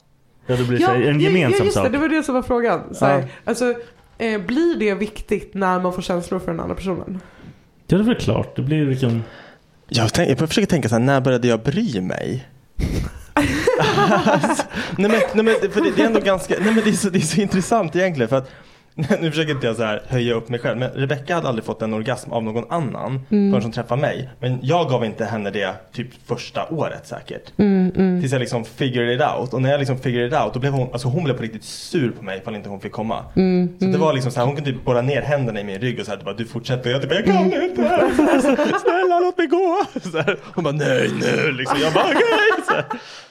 G: Ja det blir så här, en
E: ja,
G: gemensam
E: just det,
G: sak.
E: det var det som var frågan. Så här,
D: Ja.
E: alltså, eh, blir det viktigt när man får känslor för den andra personen?
G: Ja det är väl klart. Det blir liksom.
D: Jag, tänk, jag försöker tänka så här, när började jag bry mig? Alltså, nej men, nej men för det, det är ändå ganska, nej men det är, så, det är så intressant egentligen för att nu försöker inte jag så här höja upp mig själv men Rebecca hade aldrig fått en orgasm av någon annan
E: Mm.
D: förrän hon träffade mig. Men jag gav inte henne det typ första året säkert. Tills jag liksom figured it out. Och när jag liksom figured it out då blev hon, alltså hon blev på riktigt sur på mig ifall inte hon fick komma. så det var liksom så här, hon kunde typ borra ner händerna i min rygg och så här, bara du fortsätter. Och jag typ, jag kan inte. Snälla låt mig gå. Så här, hon bara nej nu liksom. Jag bara okej. Så, här.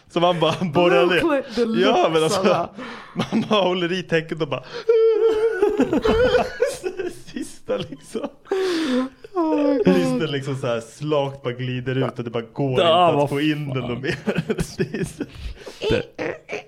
D: så man bara borrar ner.
E: Deluxe,
D: Ja men alltså.
E: Anna.
D: Man bara håller i täcket och bara Sista liksom. Kristen liksom så här slakt bara glider ut och det bara går
G: Ah,
D: inte
G: vad
D: att få in den och mer. Det är så-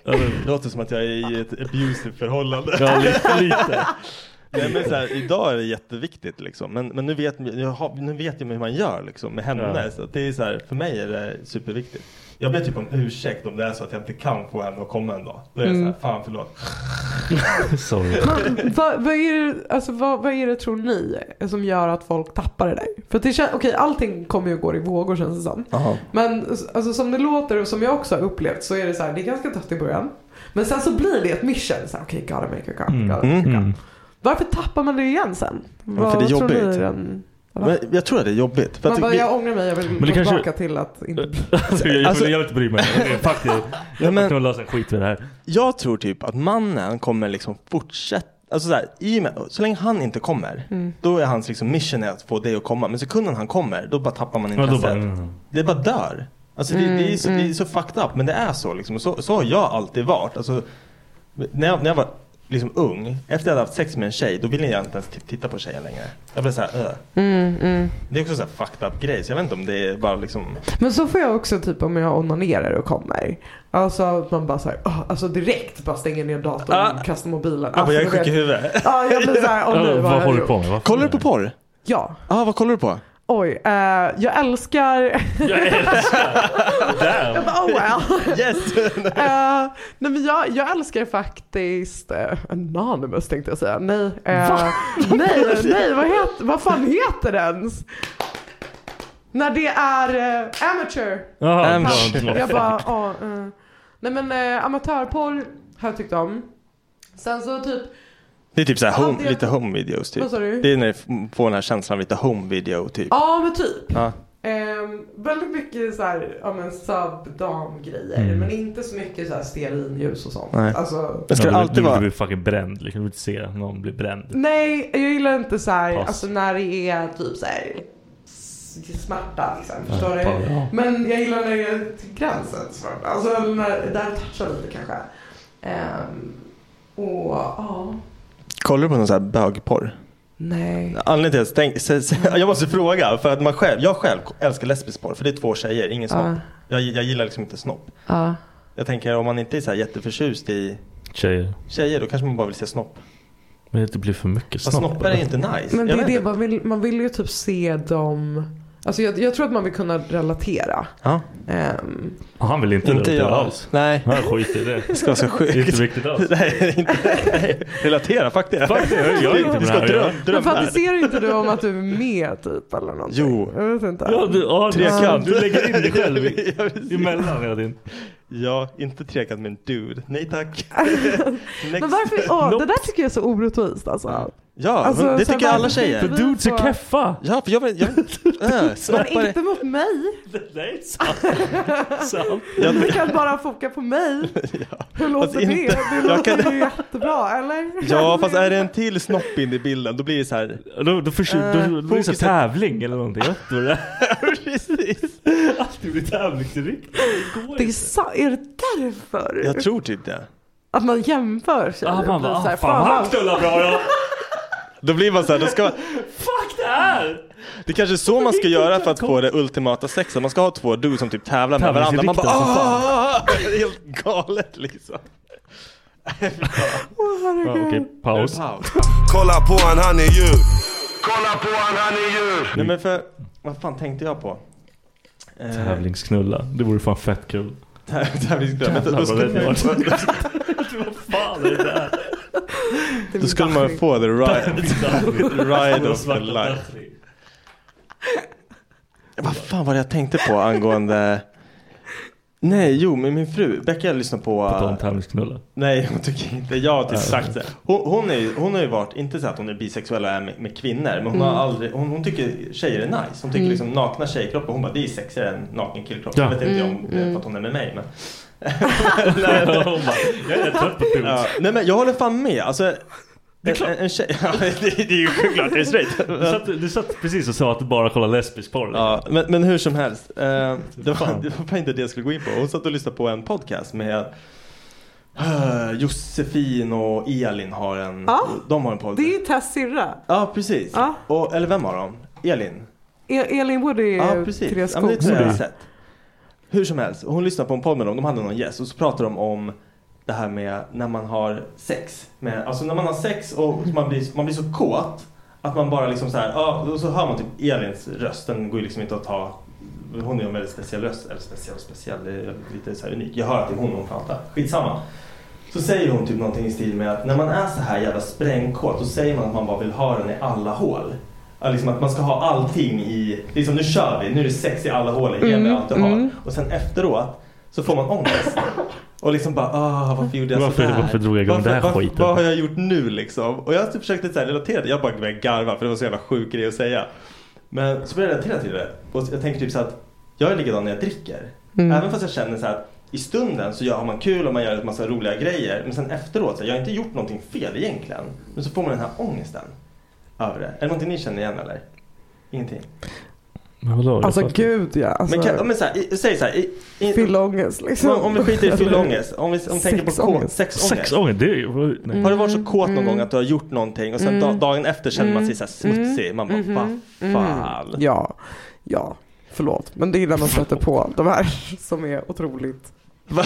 D: Det låter som att jag är i ett abusive förhållande.
G: Ja, lite- lite.
D: Nej, men så här, idag är det jätteviktigt liksom. Men, men nu, vet, jag har, nu vet jag hur man gör liksom, med henne.
G: Ja.
D: Så att det är så här, för mig är det superviktigt. Jag ber typ om ursäkt om det är så att jag inte kan få henne att komma en dag. Då är jag
E: Mm.
D: så här, fan förlåt.
G: Sorry.
E: Men vad, vad, är det, alltså, vad, vad är det tror ni som gör att folk tappar det där? För att det känns, okej allting kommer ju och går i vågor känns det som.
D: Aha.
E: Men alltså, som det låter och som jag också har upplevt så är det så här, det är ganska tufft i början. Men sen så blir det ett mission. Så här, Okej, gotta make a call. Gotta make a call. Varför tappar man det igen sen?
D: Men Mm. för det är
E: tror ni
D: jobbigt.
E: den-
D: Men jag tror att det är jobbigt. För att
E: Man bara,
D: vi-
E: jag ångrar mig, jag vill
D: Men
E: gå
D: det kanske-
E: tillbaka till att inte
G: Alltså, jag,
D: Alltså-
G: jag vill inte bry mig. Faktiskt.
D: Ja, men-
G: Jag kan lösa en skit med det här.
D: Jag tror typ att mannen kommer liksom fortsätta Alltså så, här, i och med, så länge han inte kommer,
G: Mm.
D: då är hans liksom mission är att få dig att komma. Men sekunden han kommer, då bara tappar man
G: Ja, då
D: intresset.
G: bara, mm.
D: Det bara dör. Alltså det, det, är så,
E: Mm,
D: det är så fucked up, men det är så liksom. Och Så, så har jag alltid varit. Alltså, när, jag, när jag var liksom ung, efter att jag hade haft sex med en tjej, då ville jag inte ens t- titta på tjejen längre. Jag blev såhär, öh.
E: Mm, mm.
D: Det är också så här fucked up grej, så jag vet inte om det är bara liksom...
E: Men så får jag också typ om jag onanerar och kommer. Alltså att man bara såhär, oh, alltså direkt bara stänger ner datorn,
D: Ah.
E: kastar mobilen.
D: Ah, vad jag är
E: Alltså,
D: sjuk i
E: du vet.
D: huvudet.
E: Ja, jag blir såhär, åh nej, vad har jag gjort?
G: med?
D: Kollar du på porr?
E: Ja.
D: Ja, vad kollar du på?
E: Oj, eh, jag älskar...
G: Jag älskar
D: Damn.
E: Jag bara, oh well.
D: Yes.
E: Eh, nej men jag, jag älskar faktiskt eh, Anonymous tänkte jag säga. Nej, eh,
G: Va?
E: nej, nej vad, heter, vad fan heter den? ens? När det är eh, amateur.
G: Jaha,
E: Fan.
G: amateur.
E: jag bara, ja. eh. Nej men eh, amatörporr har jag tyckt om. Sen så typ
D: Det är typ såhär home,
E: Hade jag-
D: lite home videos typ.
E: Vad sa du?
D: Det är när du f- får den här känslan av lite home video typ.
E: Ja men typ.
D: Ja.
E: Ehm, väldigt mycket så här, ja men sub-dam-grejer.
G: Mm.
E: Men inte så mycket så här stearinljus och sånt.
G: Nej.
E: Alltså,
D: Men ska det
G: du vill-
D: alltid
G: Du
D: vara-
G: vill bli fucking bränd. Liksom. Du vill inte se någon bli bränd.
E: nej, jag gillar inte så här,
G: Pass.
E: alltså när det är typ så här s- smärta liksom. Förstår
G: Ja,
E: du?
G: ja.
E: Men jag gillar när det är till gränsen smärta. Alltså eller när där touchar lite kanske. Ehm, och ja.
D: Kollar du på någon sån här bögporr?
E: Nej.
D: Anledningen till att jag stäng- se- se- jag måste fråga, för att man själv, jag själv älskar lesbisk porr för det är två tjejer, ingen snopp.
E: Ja.
D: Jag, jag gillar liksom inte snopp.
E: Ja.
D: Jag tänker om man inte är så här jätteförtjust i
G: Tjejer.
D: tjejer då kanske man bara vill se snopp.
G: Men det blir för mycket
D: Fast
G: snopp.
D: snoppar är inte nice.
E: Men det
D: Jag
E: är
D: vet
E: det,
D: inte.
E: man vill, man vill ju typ se dem. Alltså jag, jag tror att man vill kunna relatera.
D: Ja.
E: Ehm,
G: Och Han vill inte,
D: Inte
G: relatera
D: jag.
G: alls.
D: Nej.
G: Han skiter i det.
D: Det ska vara så sjukt.
G: Det är inte viktigt alls.
D: Nej, det är inte. Nej. Relatera, fuck det.
G: Fuck det, jag gör inte
D: Du
G: det
D: ska
G: här, jag-
D: dröm,
E: Men
D: drömma.
E: fantiserar inte du om att du är med typ eller någonting?
D: Jo.
E: Jag vet inte.
G: Ja, du, ja,
D: Trekant.
G: du, du lägger in dig själv i-
D: Ja, precis.
G: emellan hela tiden.
D: Ja, inte trekant men dude. Nej tack. Next.
E: Men varför, åh, det där tycker jag är så orättvist alltså.
D: Ja,
E: Alltså,
D: men det
E: så här,
D: tycker alla
E: varför
D: tjejer.
G: För
E: Vi
G: dudes är
E: får-
G: keffa.
D: Ja, för jag vill... Jag, äh,
E: Men
D: snoppar.
E: inte mot mig.
G: Nej, sant. sant.
D: Jag,
E: Du kan bara foka på mig. Hur låter
D: inte-
E: det? Det
D: jag
E: låter
D: kan-
E: ju jättebra eller?
D: ja, fast är det en till snopp in i bilden då blir det så här.
G: Då, då, försö-
D: Eh,
G: då, då blir det så
D: fokuset-
G: här tävling eller någonting. Jag vet inte vad det är.
D: Precis.
G: Alltid blir tävlingsinriktat. Det går
E: Det är,
G: inte.
E: sa- är det därför?
D: Jag tror typ det.
E: Att man jämför sig?
G: Ah,
E: och
G: man
E: blir
G: bara,
E: så här,
G: ah, fan
E: vad-
G: han knullar bra då.
D: Då blir man så här, då ska,
G: Fuck det här!
D: det kanske är så man ska göra för att få det ultimata sexet. Man ska ha två dudes som typ tävlar med varandra. Man
G: Tävlingsinriktad
D: bara
G: som fan.
D: ah! Det är helt galet liksom.
G: Ja, Okej, paus.
D: Wow.
B: Kolla på han, han är ju. Kolla på han, han är ju.
D: Nej men för, vad fan tänkte jag på? Eh,
G: Tävlingsknulla. Det vore fan fett kul.
D: Täv- Tävlingsglömmet.
G: Jävlar
D: Då
G: vad
D: skulle
G: rädd jag
D: man-
G: Vad fan är det där?
E: det är
D: Då
E: min
D: skulle man
E: backning.
D: få the ride, ride of the life. Vad fan var det jag tänkte på angående Nej, jo, men min fru, Becka jag lyssnar på...
G: På tal om tävlingsknulla.
D: nej, hon tycker inte... Jag har typ sagt det. Hon, hon, är, ju- hon har ju varit, inte så att hon är bisexuell och är med, med kvinnor, men hon har aldrig... Hon, hon tycker tjejer är nice. Hon tycker liksom nakna tjejkroppar, hon bara det är sexigare än naken killkropp.
G: Ja.
D: Jag vet inte om det är för att hon är med mig, men...
G: Hon bara, jag är trött på dudes.
D: Ja, nej, men jag håller fan med. Alltså, det är klart. En, en tjej, ja, det, det är ju självklart, det är straight.
G: Du satt, du satt precis och sa att du bara kollar lesbisk porr.
D: Ja, men, men hur som helst. Eh, det, var, det var fan inte det jag skulle gå in på. Hon satt och lyssnade på en podcast med eh, Josefin och Elin har en,
E: Ja.
D: de har en podd.
E: Det är Tess syrra.
D: Ja, precis. Och, eller vem har de? Elin?
E: E- Elin Woody
D: Ja,
E: är
D: precis.
E: Therese
D: Ja, men det
E: Skoog.
D: tror jag jag har sett. Hur som helst, hon lyssnade på en podd med dem. De hade någon gäst och så pratade de om det här med när man har sex. Med, alltså när man har sex och man blir, man blir så kåt att man bara liksom så här, ja, och så hör man typ Elins röst. Den går ju liksom inte att ta. Hon är en väldigt speciell röst. Eller speciell och speciell, det är lite så här unik. Jag hör att det är hon hon pratar. Skitsamma. Så säger hon typ någonting i stil med att när man är så här jävla sprängkåt då säger man att man bara vill ha den i alla hål. Ja, liksom att man ska ha allting i, liksom nu kör vi, nu är det sex i alla hål, ge mig
G: Mm,
D: allt du har.
G: mm.
D: Och sen efteråt så får man ångest. Och liksom bara, ah, varför gjorde jag
G: Varför-
D: sådär?
G: varför drog jag igång
D: Varför-
G: den här
D: varför-
G: skiten?
D: Vad har jag gjort nu liksom? Och jag typ försökte så här relatera, jag bara började garva för det var så jävla sjuk grej att säga. Men så började jag relatera till det. Och jag tänker typ så att jag är likadan när jag dricker.
E: Mm.
D: Även fast jag känner så här att i stunden så gör, har man kul och man gör en massa roliga grejer. Men sen efteråt, så här, jag har inte gjort någonting fel egentligen. Men så får man den här ångesten över det. Är det någonting ni känner igen eller? Ingenting?
G: Men vadå?
E: Alltså
G: Jag
E: gud ja. Alltså,
D: men kan, ja, men så här, i, säg så här. I, i,
E: Fyllångest liksom.
D: Om, om vi skiter i fyllångest. Om vi om vi tänker på kå-
E: Sexångest.
D: sexångest.
G: Sexångest, det är ju... nej.
D: Har du varit så kåt någon gång att du har gjort någonting och sen
E: Mm.
D: da- dagen efter känner man sig så här smutsig. Man bara,
E: Mhm.
D: vad
E: Mm.
D: fan.
E: Ja, ja. Förlåt, men det är när man stöter på de här som är otroligt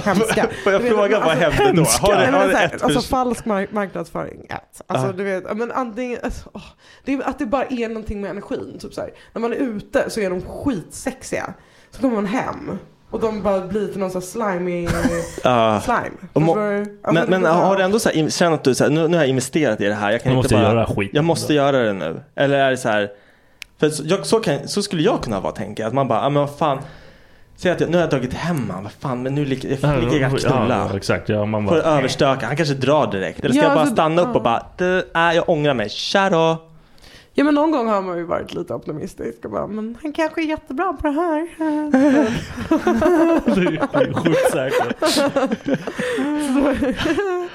E: hemska.
D: Får jag
E: Du vet, alltså,
D: fråga, vad hände då? Har
E: Har
D: det-
E: det,
D: har det ett
E: alltså
D: hus-
E: falsk mark- marknadsföring. ett. Alltså
D: Ah.
E: du vet, ja, men antingen, alltså, åh, det är, att det bara är någonting med energin. Typ så här. När man är ute så är de skitsexiga. Så kommer man hem och de bara blir till någon sån här slimy
D: Ja.
E: slime.
D: Ah. Och må-
E: Förstår du? Ja,
D: Men, men
E: det är bara-
D: har du ändå så här, in- känt att du så här, nu, nu har jag investerat i det här. Jag kan
G: Jag måste
D: inte bara,
G: göra skiten
D: Jag måste göra det nu. Eller är det så här. För så, jag, så, kan, så skulle jag kunna vara tänka. Att man bara, ja men vad fan. Säg att jag, nu har jag tagit hem han, vad fan. Men nu lika, jag får lika gärna knulla.
G: Ja, exakt. Ja, man
D: Får
G: bara...
D: överstöka. Han kanske drar direkt. Eller ska
E: Ja,
D: jag bara
E: alltså,
D: stanna upp
E: ja.
D: och bara, du, äh, jag ångrar mig. Tja då.
E: Ja men någon gång har man ju varit lite optimistisk och bara men han kanske är jättebra på det här.
G: är sjukt säkert.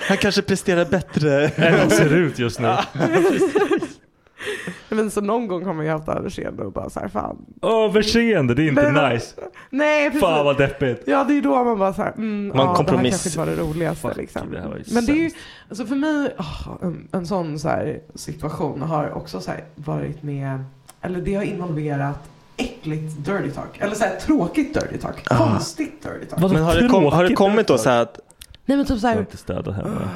D: Han kanske presterar bättre.
G: Än han ser ut just nu.
E: Ja, men så någon gång har man ju haft överseende och bara så här fan.
G: Överseende, det är inte
E: Men-
G: nice.
E: Nej precis.
G: Fan vad deppigt.
E: Ja det är då man bara så här, mm,
G: Man
E: ja, det här
G: kompromiss-
E: kanske inte var det roligaste liksom.
G: det här var ju
E: men det är ju, alltså för mig, åh, en, en sån så här situation har också så här varit med, eller det har involverat äckligt dirty talk. Eller så här tråkigt dirty talk.
D: Ah.
E: Konstigt dirty talk.
D: Men har det, kom, har det kommit då så här att
E: Nej men typ så
G: Jag har
E: här,
G: inte städat hemma.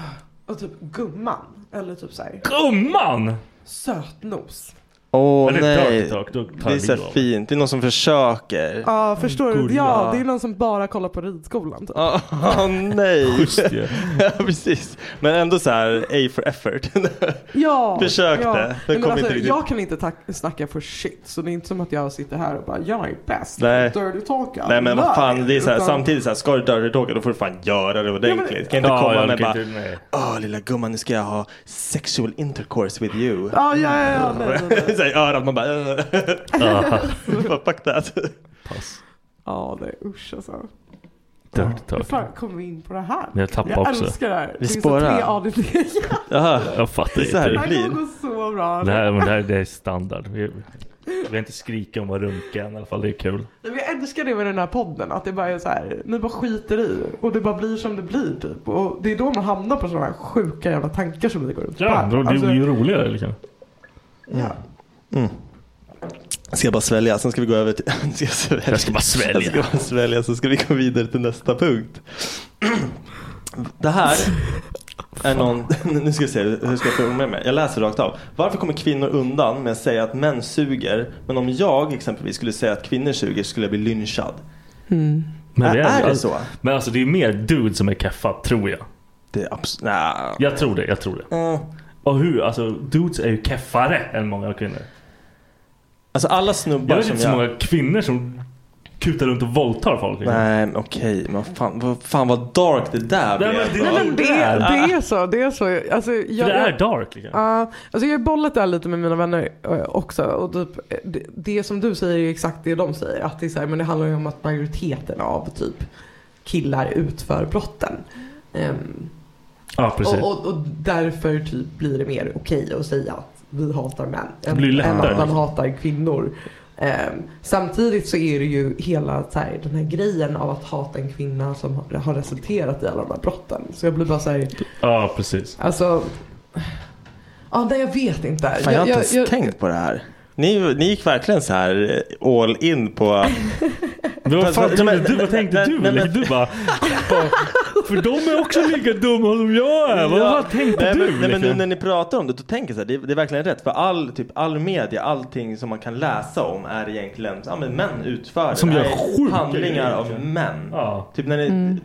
E: och typ gumman. Eller typ så här,
G: Gumman!
E: sötnos.
D: Åh
G: Är det dirty
D: nej.
G: talk, då tar
D: Det är
G: jag
D: så här
G: livet av
D: fint. Det är någon som försöker.
E: Ja, förstår du? Ja,
D: gulla.
E: det är någon som bara kollar på ridskolan. Typ.
D: Åh nej.
G: Schysst ju.
D: ja, precis. Men ändå så här A for effort.
E: Ja,
D: Försökte.
E: Ja.
D: Det kom
E: Nej, men
D: inte
E: alltså,
D: riktigt.
E: Jag kan inte tack- snacka för shit, så det är inte som att jag sitter här och bara jag är bäst.
D: Nej.
E: Dirty talka.
D: nej men vad fan. Det är så här,
E: Utan-
D: samtidigt så här, ska du dirty talka då får du fan göra det ordentligt. kan inte
G: Ja,
D: komma
G: jag
D: med
G: kan
D: bara.
G: inte- nej.
D: Åh lilla gumman nu ska jag ha sexual intercourse with you.
E: Ja, ja, ja, ja. Nej, nej, nej.
D: så här, i örat man bara. "Äh." Alltså, "Ugh." Bara, Fuck
G: Pass.
D: that.
E: Ja, nej usch alltså.
G: Dirty
E: Hur
G: talk.
E: fan kom vi in på det här?
G: Men jag tappar
E: jag
G: också.
E: älskar det här.
D: Vi
E: det är så
D: spårar.
E: tre ADD.
D: Jaha.
G: Jag fattar
D: Det är så här
G: inte.
D: det
E: det
G: riktigt.
E: här
D: blir.
E: kommer gå så bra.
G: Det här, men det här det är standard. Vi, vi har inte skrika om att runka än, i alla fall. Det är kul.
E: Nej, men Jag älskar det med den här podden, att det bara är så här, ni bara skiter i och det bara blir som det blir typ. Och det är då man hamnar på sådana här sjuka jävla tankar som vi går runt och
G: Ja,
E: bär på.
G: då, det
E: Alltså,
G: är ju roligare liksom.
E: ja.
D: Mm. Ska jag bara svälja, sen ska vi gå över till... Ska jag, svälja.
G: Jag ska bara svälja.
D: Jag ska bara svälja, så ska vi gå vidare till nästa punkt. Det här är någon... Nu ska vi se, hur ska jag formulera mig? Jag läser rakt av. Varför kommer kvinnor undan med att säga att män suger? Men om jag exempelvis skulle säga att kvinnor suger skulle jag bli lynchad. Ä- är det så?
G: Men alltså det är mer dude som är keffad, tror jag.
D: Det är absolut... Nah.
G: Jag tror det, jag tror det.
D: Mm.
G: Och hur? Alltså dudes är ju keffare än många kvinnor.
D: Alltså alla
G: Jag
D: snubbar
G: vet
D: som
G: inte så
D: jag...
G: många kvinnor som kutar runt och våldtar folk. liksom.
D: Nej, men okej. Men vad fan, vad fan vad dark det där
G: Nej, men
D: blev.
G: det-
E: Nej, men det,
G: där.
E: det är så, det är så. Alltså, jag,
G: För det är dark liksom.
E: Ja, alltså jag har bollat där lite med mina vänner eh, också. Och typ, eh, det, det som du säger är ju exakt det de säger. Att det, är så här, men det handlar ju om att majoriteten av typ killar utför brotten. Ehm,
G: Ja, precis.
E: Och, och, och därför typ blir det mer okej att säga att vi hatar män.
G: Det blir lättare.
E: än att man hatar kvinnor. Ehm, samtidigt så är det ju hela så här, den här grejen av att hata en kvinna som har- har resulterat i alla de här brotten. Så jag blir bara så här,
G: Ja, precis.
E: alltså. Ja, nej jag vet inte.
D: Fan, jag har inte ens tänkt på det här. Ni, ni gick verkligen så här eh, all in på...
G: Men vad fan, du, vad tänkte du? Eller du bara, För de är också lika dumma som jag är. Vad, vad tänkte
D: nej,
G: du?
D: Men, nej, men nu
G: liksom?
D: när ni pratar om det, då tänker jag så här, det, det är verkligen rätt. För all, typ, all media, allting som man kan läsa om är egentligen, ja men män utför
G: Som
D: det.
G: gör
D: Det är
G: sjuka
D: Handlingar
G: grejer,
D: av
G: egentligen.
D: män.
G: Ja.
D: Typ när det,
G: Mm.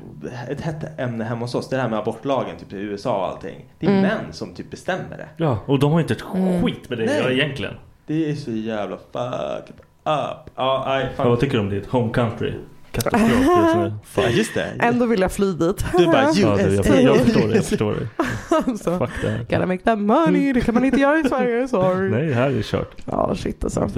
D: ett hett ämne hemma hos oss, det här med abortlagen typ i USA och allting. Det är
G: Mm.
D: män som typ bestämmer det.
G: Ja, och de har inte ett
D: Mm.
G: skit med det att
D: Nej.
G: göra egentligen.
D: Det är så jävla fucked up. Ja, nej,
G: Ja,
D: fan.
G: vad tycker du om ditt home country? Katastrof just nu. Fan.
D: Ja, just det.
E: Ändå vill jag fly dit.
D: Du bara,
G: Ja, du, jag, jag förstår det, jag förstår det.
E: alltså,
G: Fuck det här.
E: gotta make that money. Det kan man inte göra i Sverige. Sorry.
G: Nej, det här är kört.
E: Ja, shit alltså.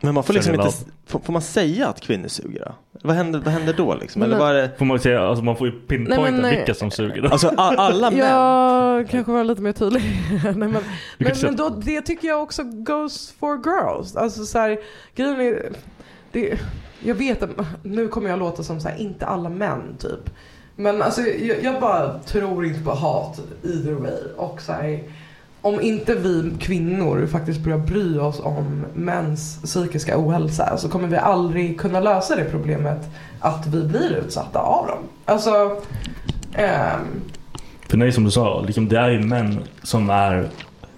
D: Men man får liksom
G: Känner
D: inte,
G: jag
D: får, får man säga att kvinnor suger då? Vad händer, vad händer då liksom?
E: Men-
D: Eller vad är det?
G: Får man säga, alltså man får ju pinpointa
E: Nej, men, eh, nej.
G: vilka som suger då.
D: Alltså a- alla män.
E: Jag kanske var lite mer tydlig. Nej, men men,
G: säga-
E: men då, det tycker jag också goes for girls. Alltså så här, grejen är, det, jag vet att nu kommer jag låta som så här, inte alla män typ. Men alltså jag, jag bara tror inte på hat either way. Och så här, om inte vi kvinnor faktiskt börjar bry oss om mäns psykiska ohälsa så kommer vi aldrig kunna lösa det problemet att vi blir utsatta av dem. Alltså, ehm,
G: För nej som du sa, liksom, det är ju män som är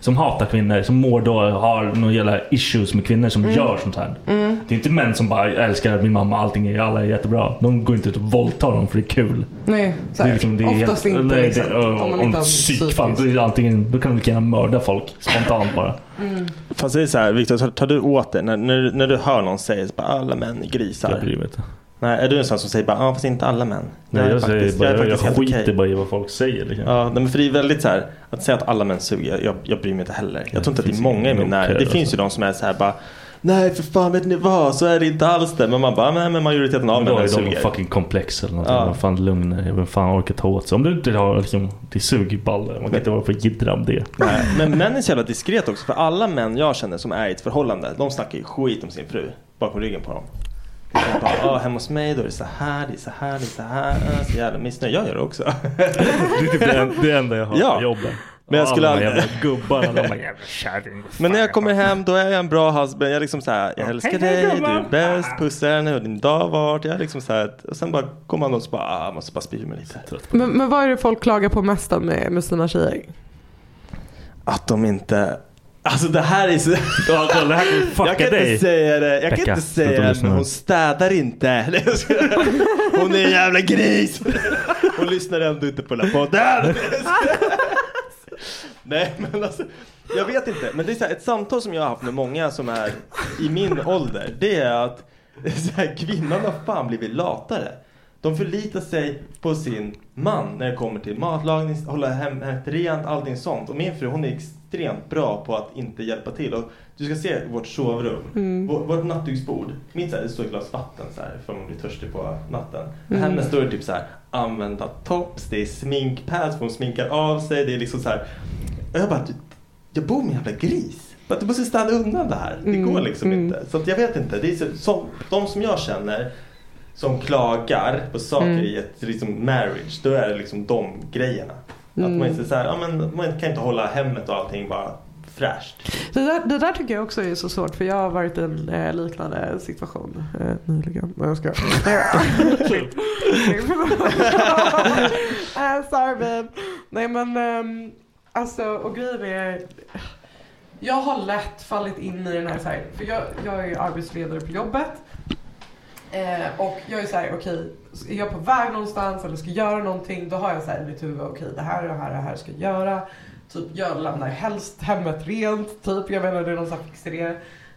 G: som hatar kvinnor, som mår då har några jävla issues med kvinnor som
E: Mm.
G: gör sånt här.
E: Mm.
G: Det är inte män som bara "Jag älskar min mamma, allting är, alla är jättebra. De går inte ut och våldtar dem för det är kul.
E: Nej, så här,
G: liksom,
E: oftast inte.
G: nej,
E: liksom,
G: det, om,
E: om man
G: om
E: inte har
G: psyk, fan, då, är det antingen, då kan de lika gärna mörda folk spontant bara.
E: Mm.
D: Fast det är så här, Viktor, tar, tar du åt det när, när, när du hör någon säga att alla män är grisar? Jag
G: bryr mig inte.
D: Nej, är du en sån som säger bara, ja fast inte alla män.
G: Nej,
D: är
G: jag, säger
D: faktiskt-
G: bara,
D: är
G: jag, jag,
D: faktiskt helt
G: skiter
D: okej.
G: bara i vad folk säger. Liksom.
D: Ja, nej, men för det är väldigt så här, att säga att alla män suger, jag, jag, jag bryr mig inte heller. Jag tror inte att det
G: finns
D: är många i
G: ingen
D: min närhet. Det
G: okej,
D: finns
G: alltså.
D: ju de som är så här bara, nej för fan vet ni vad, så är det inte alls det. Men man bara, nej men majoriteten av
G: men då är
D: männen
G: de
D: suger.
G: fucking komplex eller någonting.
D: Ja.
G: Vad fan lugn är Vem fan orkar ta åt sig? Om du inte har liksom, det suger ju baller. Man kan inte vara för jiddra om det.
D: Nej, men män är så jävla diskret också. För alla män jag känner som är i ett förhållande, de snackar ju skit om sin fru bakom ryggen på dem. De bara, "Ah, hemma hos mig då är det så här, det är så här, det är så här. Ah, Så jävla missnöjd. Jag gör det också.
G: Det är typ det, en- det enda jag har
D: Ja.
G: på jobben.
D: Men jag skulle
G: alla de här
D: aldrig-
G: jävla gubbarna, de bara jävla kärring.
D: Men när jag kommer hem då är jag en bra husband. Jag är liksom så här, jag älskar
G: Hej, hej,
D: dig, du
G: gumman.
D: är bäst, pussar henne, hur din dag varit. Jag är liksom så här, och sen bara kommer man och så bara, ah, jag måste bara spy mig lite.
E: Men, men vad är det folk klagar på mest av med, med sina tjejer?
D: Att de inte Alltså det här är så...
G: Ja, kolla, det här kommer fucka
D: jag kan
G: dig.
D: inte säga det. Jag
G: Becka,
D: kan inte
G: sluta
D: säga det.
G: lyssna
D: Men
G: nu.
D: hon städar inte. Nej, jag skojar. Hon är en jävla gris. Hon lyssnar ändå inte på den här podden. Nej men alltså. Jag vet inte. Men det är så här, ett samtal som jag har haft med många som är i min ålder. Det är att så här, kvinnan har fan blivit latare. De förlitar sig på sin man när det kommer till matlagning, hålla hem hemmet rent, allting sånt. Och min fru hon är extremt bra på att inte hjälpa till. Och du ska se vårt sovrum,
G: Mm.
D: vår, vårt nattduksbord. Mitt så här, det står ett glas vatten så här för om man blir törstig på natten.
G: Mm.
D: Hennes står det typ så här använda tops, det är sminkpads, för hon sminkar av sig. Det är liksom så här. Och jag bara, du, jag bor med en jävla gris. Bara, Du måste städa undan det här. Det
G: Mm,
D: går liksom
G: mm.
D: inte. Så att jag vet inte. Det är så, som, de som jag känner som klagar på saker
G: Mm.
D: i ett liksom, marriage, då är det liksom de grejerna. Att
E: Mm.
D: man, inte så här, ja, men, man kan inte hålla hemmet och allting bara fräscht.
E: Det där, det där tycker jag också är så svårt för jag har varit i en eh, liknande situation eh, nyligen. Nej jag skojar. Shit. Eh, Sorry babe. Nej men ehm, alltså och grejen är. Jag har lätt fallit in i den här så här, för jag, jag är ju arbetsledare på jobbet. Eh, och jag är så här, okej, är jag på väg någonstans eller ska göra någonting då har jag så här i mitt huvud, okej det här och det här och det här ska jag göra. Typ jag lämnar helst hemmet rent, typ jag menar det är någon sån här fixering.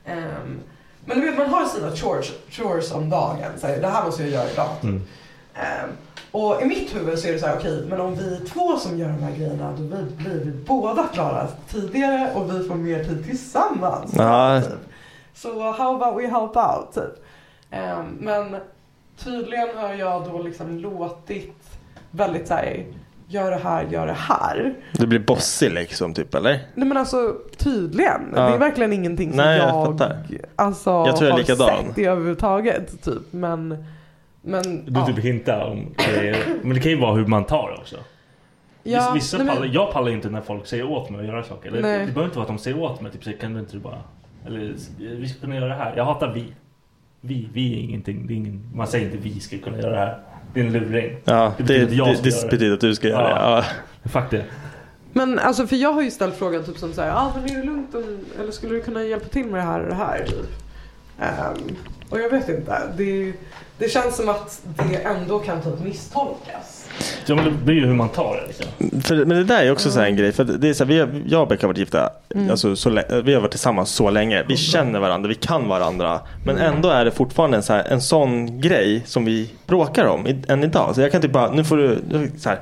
E: Ehm, men du vet man har sina chores, chores om dagen, så här, det här måste jag göra idag. typ. Ehm, och i mitt huvud så är det så här, okej men om vi är två som gör de här grejerna då blir blir vi båda klara tidigare och vi får mer tid tillsammans.
D: Ja.
E: Så how about we help out? Typ. Ehm, men tydligen har jag då liksom låtit väldigt så här,
D: gör det här, gör det här.
E: Det blir bossig liksom typ eller?
D: Nej men alltså tydligen.
E: Ja.
D: Det är verkligen ingenting som
E: Nej jag,
D: jag,
E: fattar.
D: alltså,
E: Jag tror jag är
D: har
E: likadan.
D: sett det överhuvudtaget. Typ. Men, men
F: Du typ hintar om grejer. Men det kan ju vara hur man tar också.
D: Ja,
F: Viss- Vissa
D: nej, men-
F: pallar, jag pallar inte när folk säger åt mig att göra saker. Eller,
D: Nej.
F: det behöver inte vara att de säger åt mig. Typ, så kan du inte bara... Eller vi ska kunna göra det här. Jag hatar vi. Vi, vi är ingenting. Det är ingen, man säger inte vi ska kunna göra det här. Det är en luring.
E: Ja, det, det,
F: att jag
E: det,
F: ska göra det.
E: betyder att du ska göra det.
F: Ja. Fuck det.
D: Men alltså för jag har ju ställt frågan typ som så här, ah, men är det lugnt om, eller skulle du kunna hjälpa till med det här och det här? Typ. Ehm, och jag vet inte, det, det känns som att det ändå kan typ misstolkas.
F: Ja, men det blir ju hur man tar det. Liksom.
E: För, men det där är också så här en
D: Mm.
E: grej. För det är så här, vi har, jag och Becka har varit gifta.
F: Mm.
E: Alltså, så, lä- vi har varit tillsammans så länge.
D: Mm.
E: Vi känner varandra, vi kan varandra. Men ändå är det fortfarande en, så här, en sån grej som vi bråkar om i, än idag. Så jag kan typ bara, nu får du, nu- så här,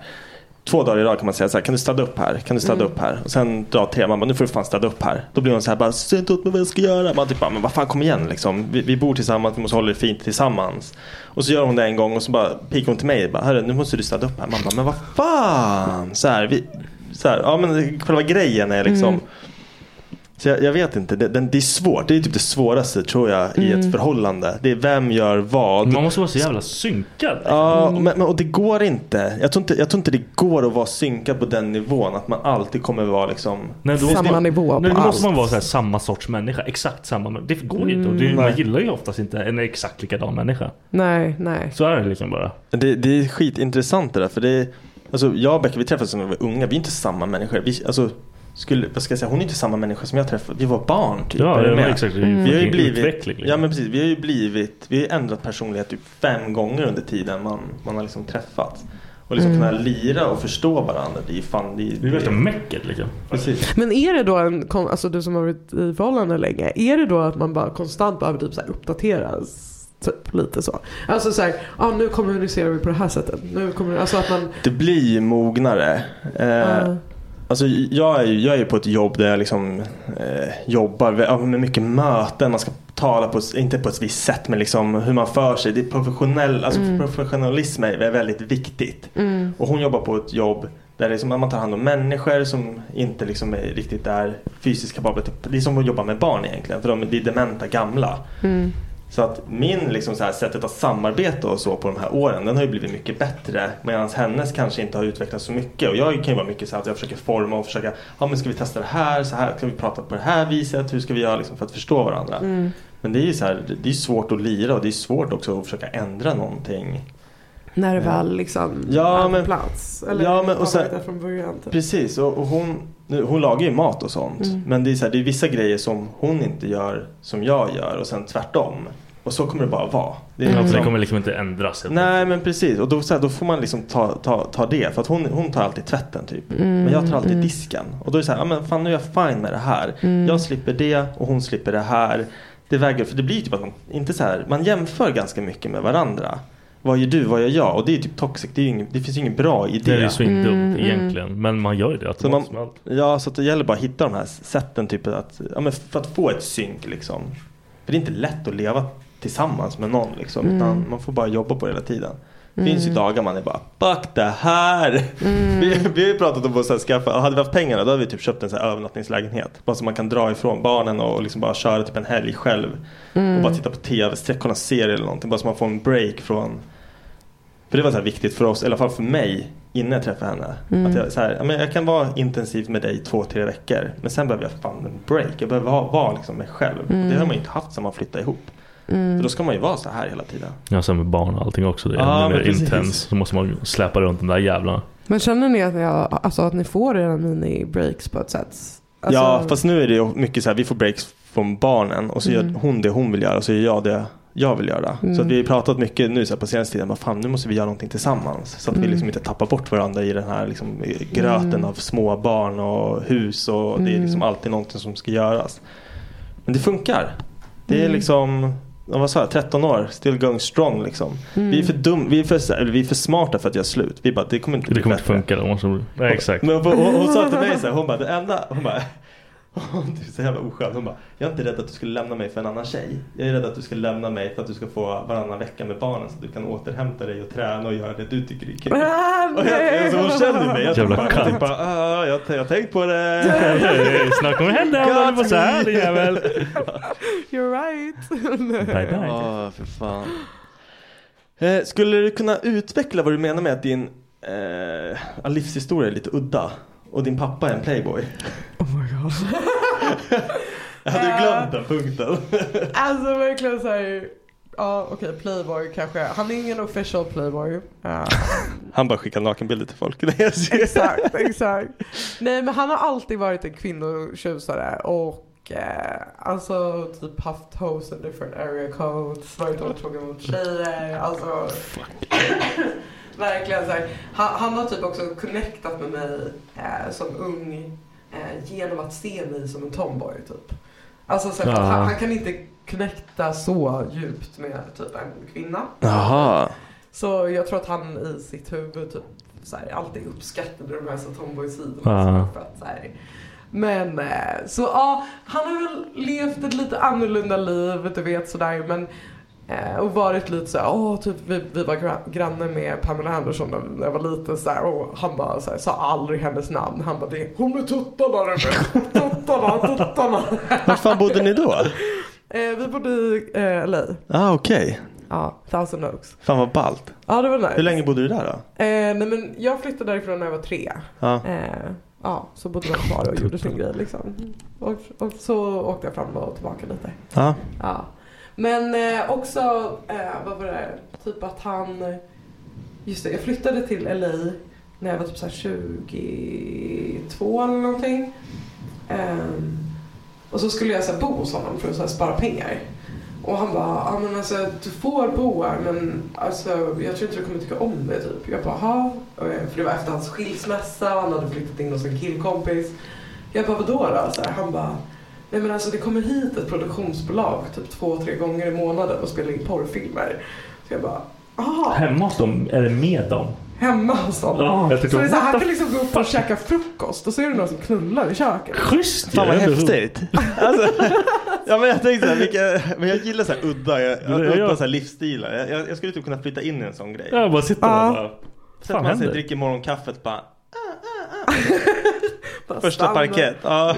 E: två dagar i rad kan man säga så här, kan du städa upp här? Kan du städa
F: Mm.
E: upp här? Och sen dag tre, man bara, nu får du fan städa upp här. Då blir hon så här bara, säg inte åt mig vad jag ska göra. Man typ bara, men vad fan kom igen liksom. Vi, vi bor tillsammans, vi måste hålla det fint tillsammans. Och så gör hon det en gång och så bara pikar hon till mig. Bara, Hörru, nu måste du städa upp här. Man bara, men vad fan. Så här, vi, så här, ja men själva grejen är liksom.
F: Mm.
E: Så jag, jag vet inte, det, den- det är svårt. Det är typ det svåraste tror jag i
F: Mm.
E: ett förhållande. Det är vem gör vad.
F: Man måste vara så jävla synkad.
E: Ja, men, men, och det går inte. Jag tror inte. jag tror inte det går att vara synkad på den nivån. Att man alltid kommer vara liksom...
F: Nej, då måste man, nej, då måste man vara så här, samma sorts människa. Exakt samma. män- Det går ju inte. Och det,
E: Mm.
F: man
E: Nej.
F: gillar ju oftast inte en exakt likadan människa.
D: Nej, nej.
F: Så är det liksom bara.
E: Det, det är skitintressant det där. För det är, alltså, jag och Becka vi träffades när vi var unga. Vi är inte samma människor. Vi, alltså, skulle, vad ska jag säga, hon är inte samma människa som jag träffade. Vi var barn typ.
F: Ja,
E: Är du
F: ja,
E: med?
F: exakt. Det är ju
E: Vi har ju
F: fucking
E: blivit,
F: utveckling, liksom.
E: ja, men precis, vi har ju blivit, vi har ju ändrat personlighet typ fem gånger under tiden man, man har liksom träffats. Och liksom
D: Mm.
E: kunna lira och förstå varandra. Det är ju fan, det, det är värsta
F: mäcket liksom.
E: Precis.
D: Men är det då en, kon- alltså du som har varit i förhållande länge, är det då att man bara konstant behöver typ så här uppdateras? Typ lite så. Alltså såhär, ah, nu kommunicerar vi på det här sättet. Nu kommer, alltså att man,
E: Det blir ju mognare. Eh,
D: Ja.
E: Alltså, jag, är ju, jag är ju på ett jobb där jag liksom, eh, jobbar vä- ja, med mycket möten. Man ska tala på, s- inte på ett visst sätt men liksom hur man för sig. Det är professionell, alltså
F: Mm.
E: Professionalism är är väldigt viktigt. Och hon jobbar på ett jobb där det är som att man tar hand om människor som inte liksom är riktigt är fysiskt kapabla. till- Det är som att jobba med barn egentligen för de det är dementa gamla.
D: Mm.
E: Så att min liksom så här sättet att samarbeta och så på de här åren den har ju blivit mycket bättre medan hennes kanske inte har utvecklats så mycket. Och jag kan ju vara mycket så här att jag försöker forma och försöka, ja men ska vi testa det här, så här, ska vi prata på det här viset, hur ska vi göra liksom för att förstå varandra.
D: Mm.
E: Men det är ju så här, det är svårt att lira och det är svårt också att försöka ändra någonting.
D: när det
E: Ja.
D: väl liksom
E: Ja,
D: är på
E: men-
D: plats. Eller
E: ja, men- och
D: har
E: sen-
D: varit där från början. Typ.
E: Precis, och, och hon, nu, hon lagar ju mat och sånt.
D: Mm.
E: Men det är, så här, det är vissa grejer som hon inte gör som jag gör och sen tvärtom. Och så kommer det bara vara. Det är
F: Mm.
E: liksom-
F: Det kommer liksom inte ändras.
E: Nej men precis, och då, så här, då får man liksom ta, ta, ta det. För att hon, hon tar alltid tvätten typ.
F: Mm,
E: men jag tar alltid
F: mm.
E: disken. Och då är det så här, ja men fan nu är jag fine med det här.
F: Mm.
E: Jag slipper det och hon slipper det här. Det väger, för det blir typ att man, inte så här, man jämför ganska mycket med varandra. Vad gör du, vad gör jag? Och det är ju typ toxic, det, är ju ingen, det finns ju ingen bra idé.
F: Det är ju svindumt egentligen. Men man gör ju det
E: Så man,
F: automatiskt med allt.
E: ja, så att det gäller bara att hitta de här sätten typ att, ja, men för att få ett synk liksom. För det är inte lätt att leva tillsammans med någon liksom.
F: Mm.
E: Utan man får bara jobba på det hela tiden. Det
F: Mm.
E: finns ju dagar man är bara fuck det här. Vi, vi har ju pratat om att så här skaffa, hade vi haft pengarna då hade vi typ köpt en så här övernattningslägenhet. Bara så man kan dra ifrån barnen och liksom bara köra typ en helg själv.
F: Mm.
E: Och bara titta på tv, sträcka någon serie eller någonting. Bara så man får en break från för det var så här viktigt för oss, i alla fall för mig, innan jag träffade henne.
F: Mm.
E: Att jag, så här, ja, men jag kan vara intensiv med dig i två, tre veckor. Men sen behöver jag fan en break. Jag behöver ha, vara liksom mig själv. Och
F: Mm.
E: Det har man ju inte haft sedan man flyttade ihop.
D: Mm.
E: För då ska man ju vara så här hela tiden.
F: Ja, sen med barn och allting också. Det är
E: Ja,
F: ännu
E: men
F: mer
E: precis.
F: intens. Så måste man släpa runt de där jävlarna.
D: Men känner ni att, jag, alltså, att ni får era mini-breaks på ett sätt? Alltså,
E: ja, fast nu är det ju mycket så här, vi får breaks från barnen och så
D: Mm.
E: gör hon det hon vill göra och så gör jag det jag vill göra.
D: Mm.
E: Så att vi har pratat mycket nu så här, på senaste tiden, vad fan nu måste vi göra någonting tillsammans. Så att vi
F: Mm.
E: liksom inte tappar bort varandra i den här liksom, gröten
F: Mm.
E: av små barn och hus och det är
F: Mm.
E: liksom alltid någonting som ska göras. Men det funkar. Det är
F: Mm.
E: liksom, ja, vad sa jag, 13 år, still going strong liksom.
F: Mm.
E: Vi är för dum, vi är för, så här- eller vi är för smarta för att göra slut. Vi bara, det kommer inte
F: Det
E: bli
F: kommer inte
E: bättre.
F: funka. Då måste... Nej, exakt.
E: Men hon, hon, hon sa till mig så här, hon bara, det enda, hon bara,
H: Du är så jävla oskön. Hon bara, jag är inte rädd att du skulle lämna mig för en annan tjej. Jag är rädd att du skulle lämna mig för att du ska få varannan vecka med barnen så att du kan återhämta dig och träna och göra det du tycker är kul.
E: Ah,
H: och jag,
E: nej.
H: alltså, hon känner ju mig. Jag
I: Jävla
H: bara, jag
I: cunt.
H: bara ah, jag, jag har tänkt på det.
I: Snart kommer det hända om du håller på så här, din jävel.
E: You're right. Nej.
H: Ja, för fan. Eh, skulle du kunna utveckla vad du menar med att din eh, livshistoria är lite udda och din pappa är en playboy? Oh my god. jag hade ju glömt den punkten.
E: Eh, Alltså verkligen såhär, ja okej playboy kanske. Han är ingen official playboy. Eh,
H: Han bara skickar nakenbilder till folk. Nej, jag ser.
E: Exakt, exakt. Nej men han har alltid varit en kvinnotjusare och eh, alltså typ haft hoes in different area codes, varit otrogen mot tjejer. Alltså verkligen såhär. Han, han har typ också connectat med mig eh, som ung eh, genom att se mig som en tomboy typ. Alltså så här,
H: Ja.
E: han, han kan inte connecta så djupt med typ en kvinna.
H: Jaha.
E: Så jag tror att han i sitt huvud typ så här, alltid uppskattade de här så tomboy-sidorna.
H: Ja.
E: så för att, så här. Men eh, så ja, han har väl levt ett lite annorlunda liv, du vet sådär. Men, eh, och varit lite såhär, åh typ vi, vi var gra- granne med Pamela Andersson när- när jag var liten såhär. Och han bara såhär, sa aldrig hennes namn. Han bara, det är hon med tuttarna du vet. Tuttarna, tuttarna.
H: Var fan bodde ni då?
E: Eh, vi bodde i eh, LA,
H: Ah, okej.
E: Ja, Thousand Oaks.
H: Fan vad ballt.
E: Ja det var nice.
H: Hur länge bodde du där då?
E: Eh, nej men jag flyttade därifrån när jag var tre.
H: Ja.
E: Eh, ja, så bodde jag kvar och gjorde sin grej liksom. Och, och så åkte jag fram och tillbaka lite.
H: Ja.
E: Ja. Men eh, också, eh, vad var det, typ att han, just det, jag flyttade till LA när jag var typ så här 22 eller någonting. Ehm, och så skulle jag så här bo hos honom för att så här spara pengar. Och han bara, ja men alltså du får bo här men alltså, jag tror inte du kommer tycka om det typ. Jag bara, ha För det var efter hans skilsmässa och han hade flyttat in hos en killkompis. Jag bara, vadå då? Så här, han bara, nej men alltså det kommer hit ett produktionsbolag typ två, tre gånger i månaden och spelar in porrfilmer. Så jag bara, aha.
D: Hemma hos dem, eller med dem.
E: Hemma hos dem.
D: Ja, jag tyckte,
E: så det är så här,
D: what
E: han
D: the
E: kan liksom gå upp och käka frukost och så är det någon som knullar i köket.
D: Schysst
H: Fan vad häftigt. Alltså, ja, men jag tänkte så här, vilka, men jag gillar så här udda, jag,
D: Det-
H: udda
D: jag-
H: Så här livsstilar. Jag, jag, jag skulle typ kunna flytta in i en sån grej.
D: Jag bara sitter där och bara,
H: Så
D: fan
H: att man så
D: händer?
H: här, dricker morgonkaffet bara.
E: Bara
H: Första
E: stanna.
H: parkett. Ja.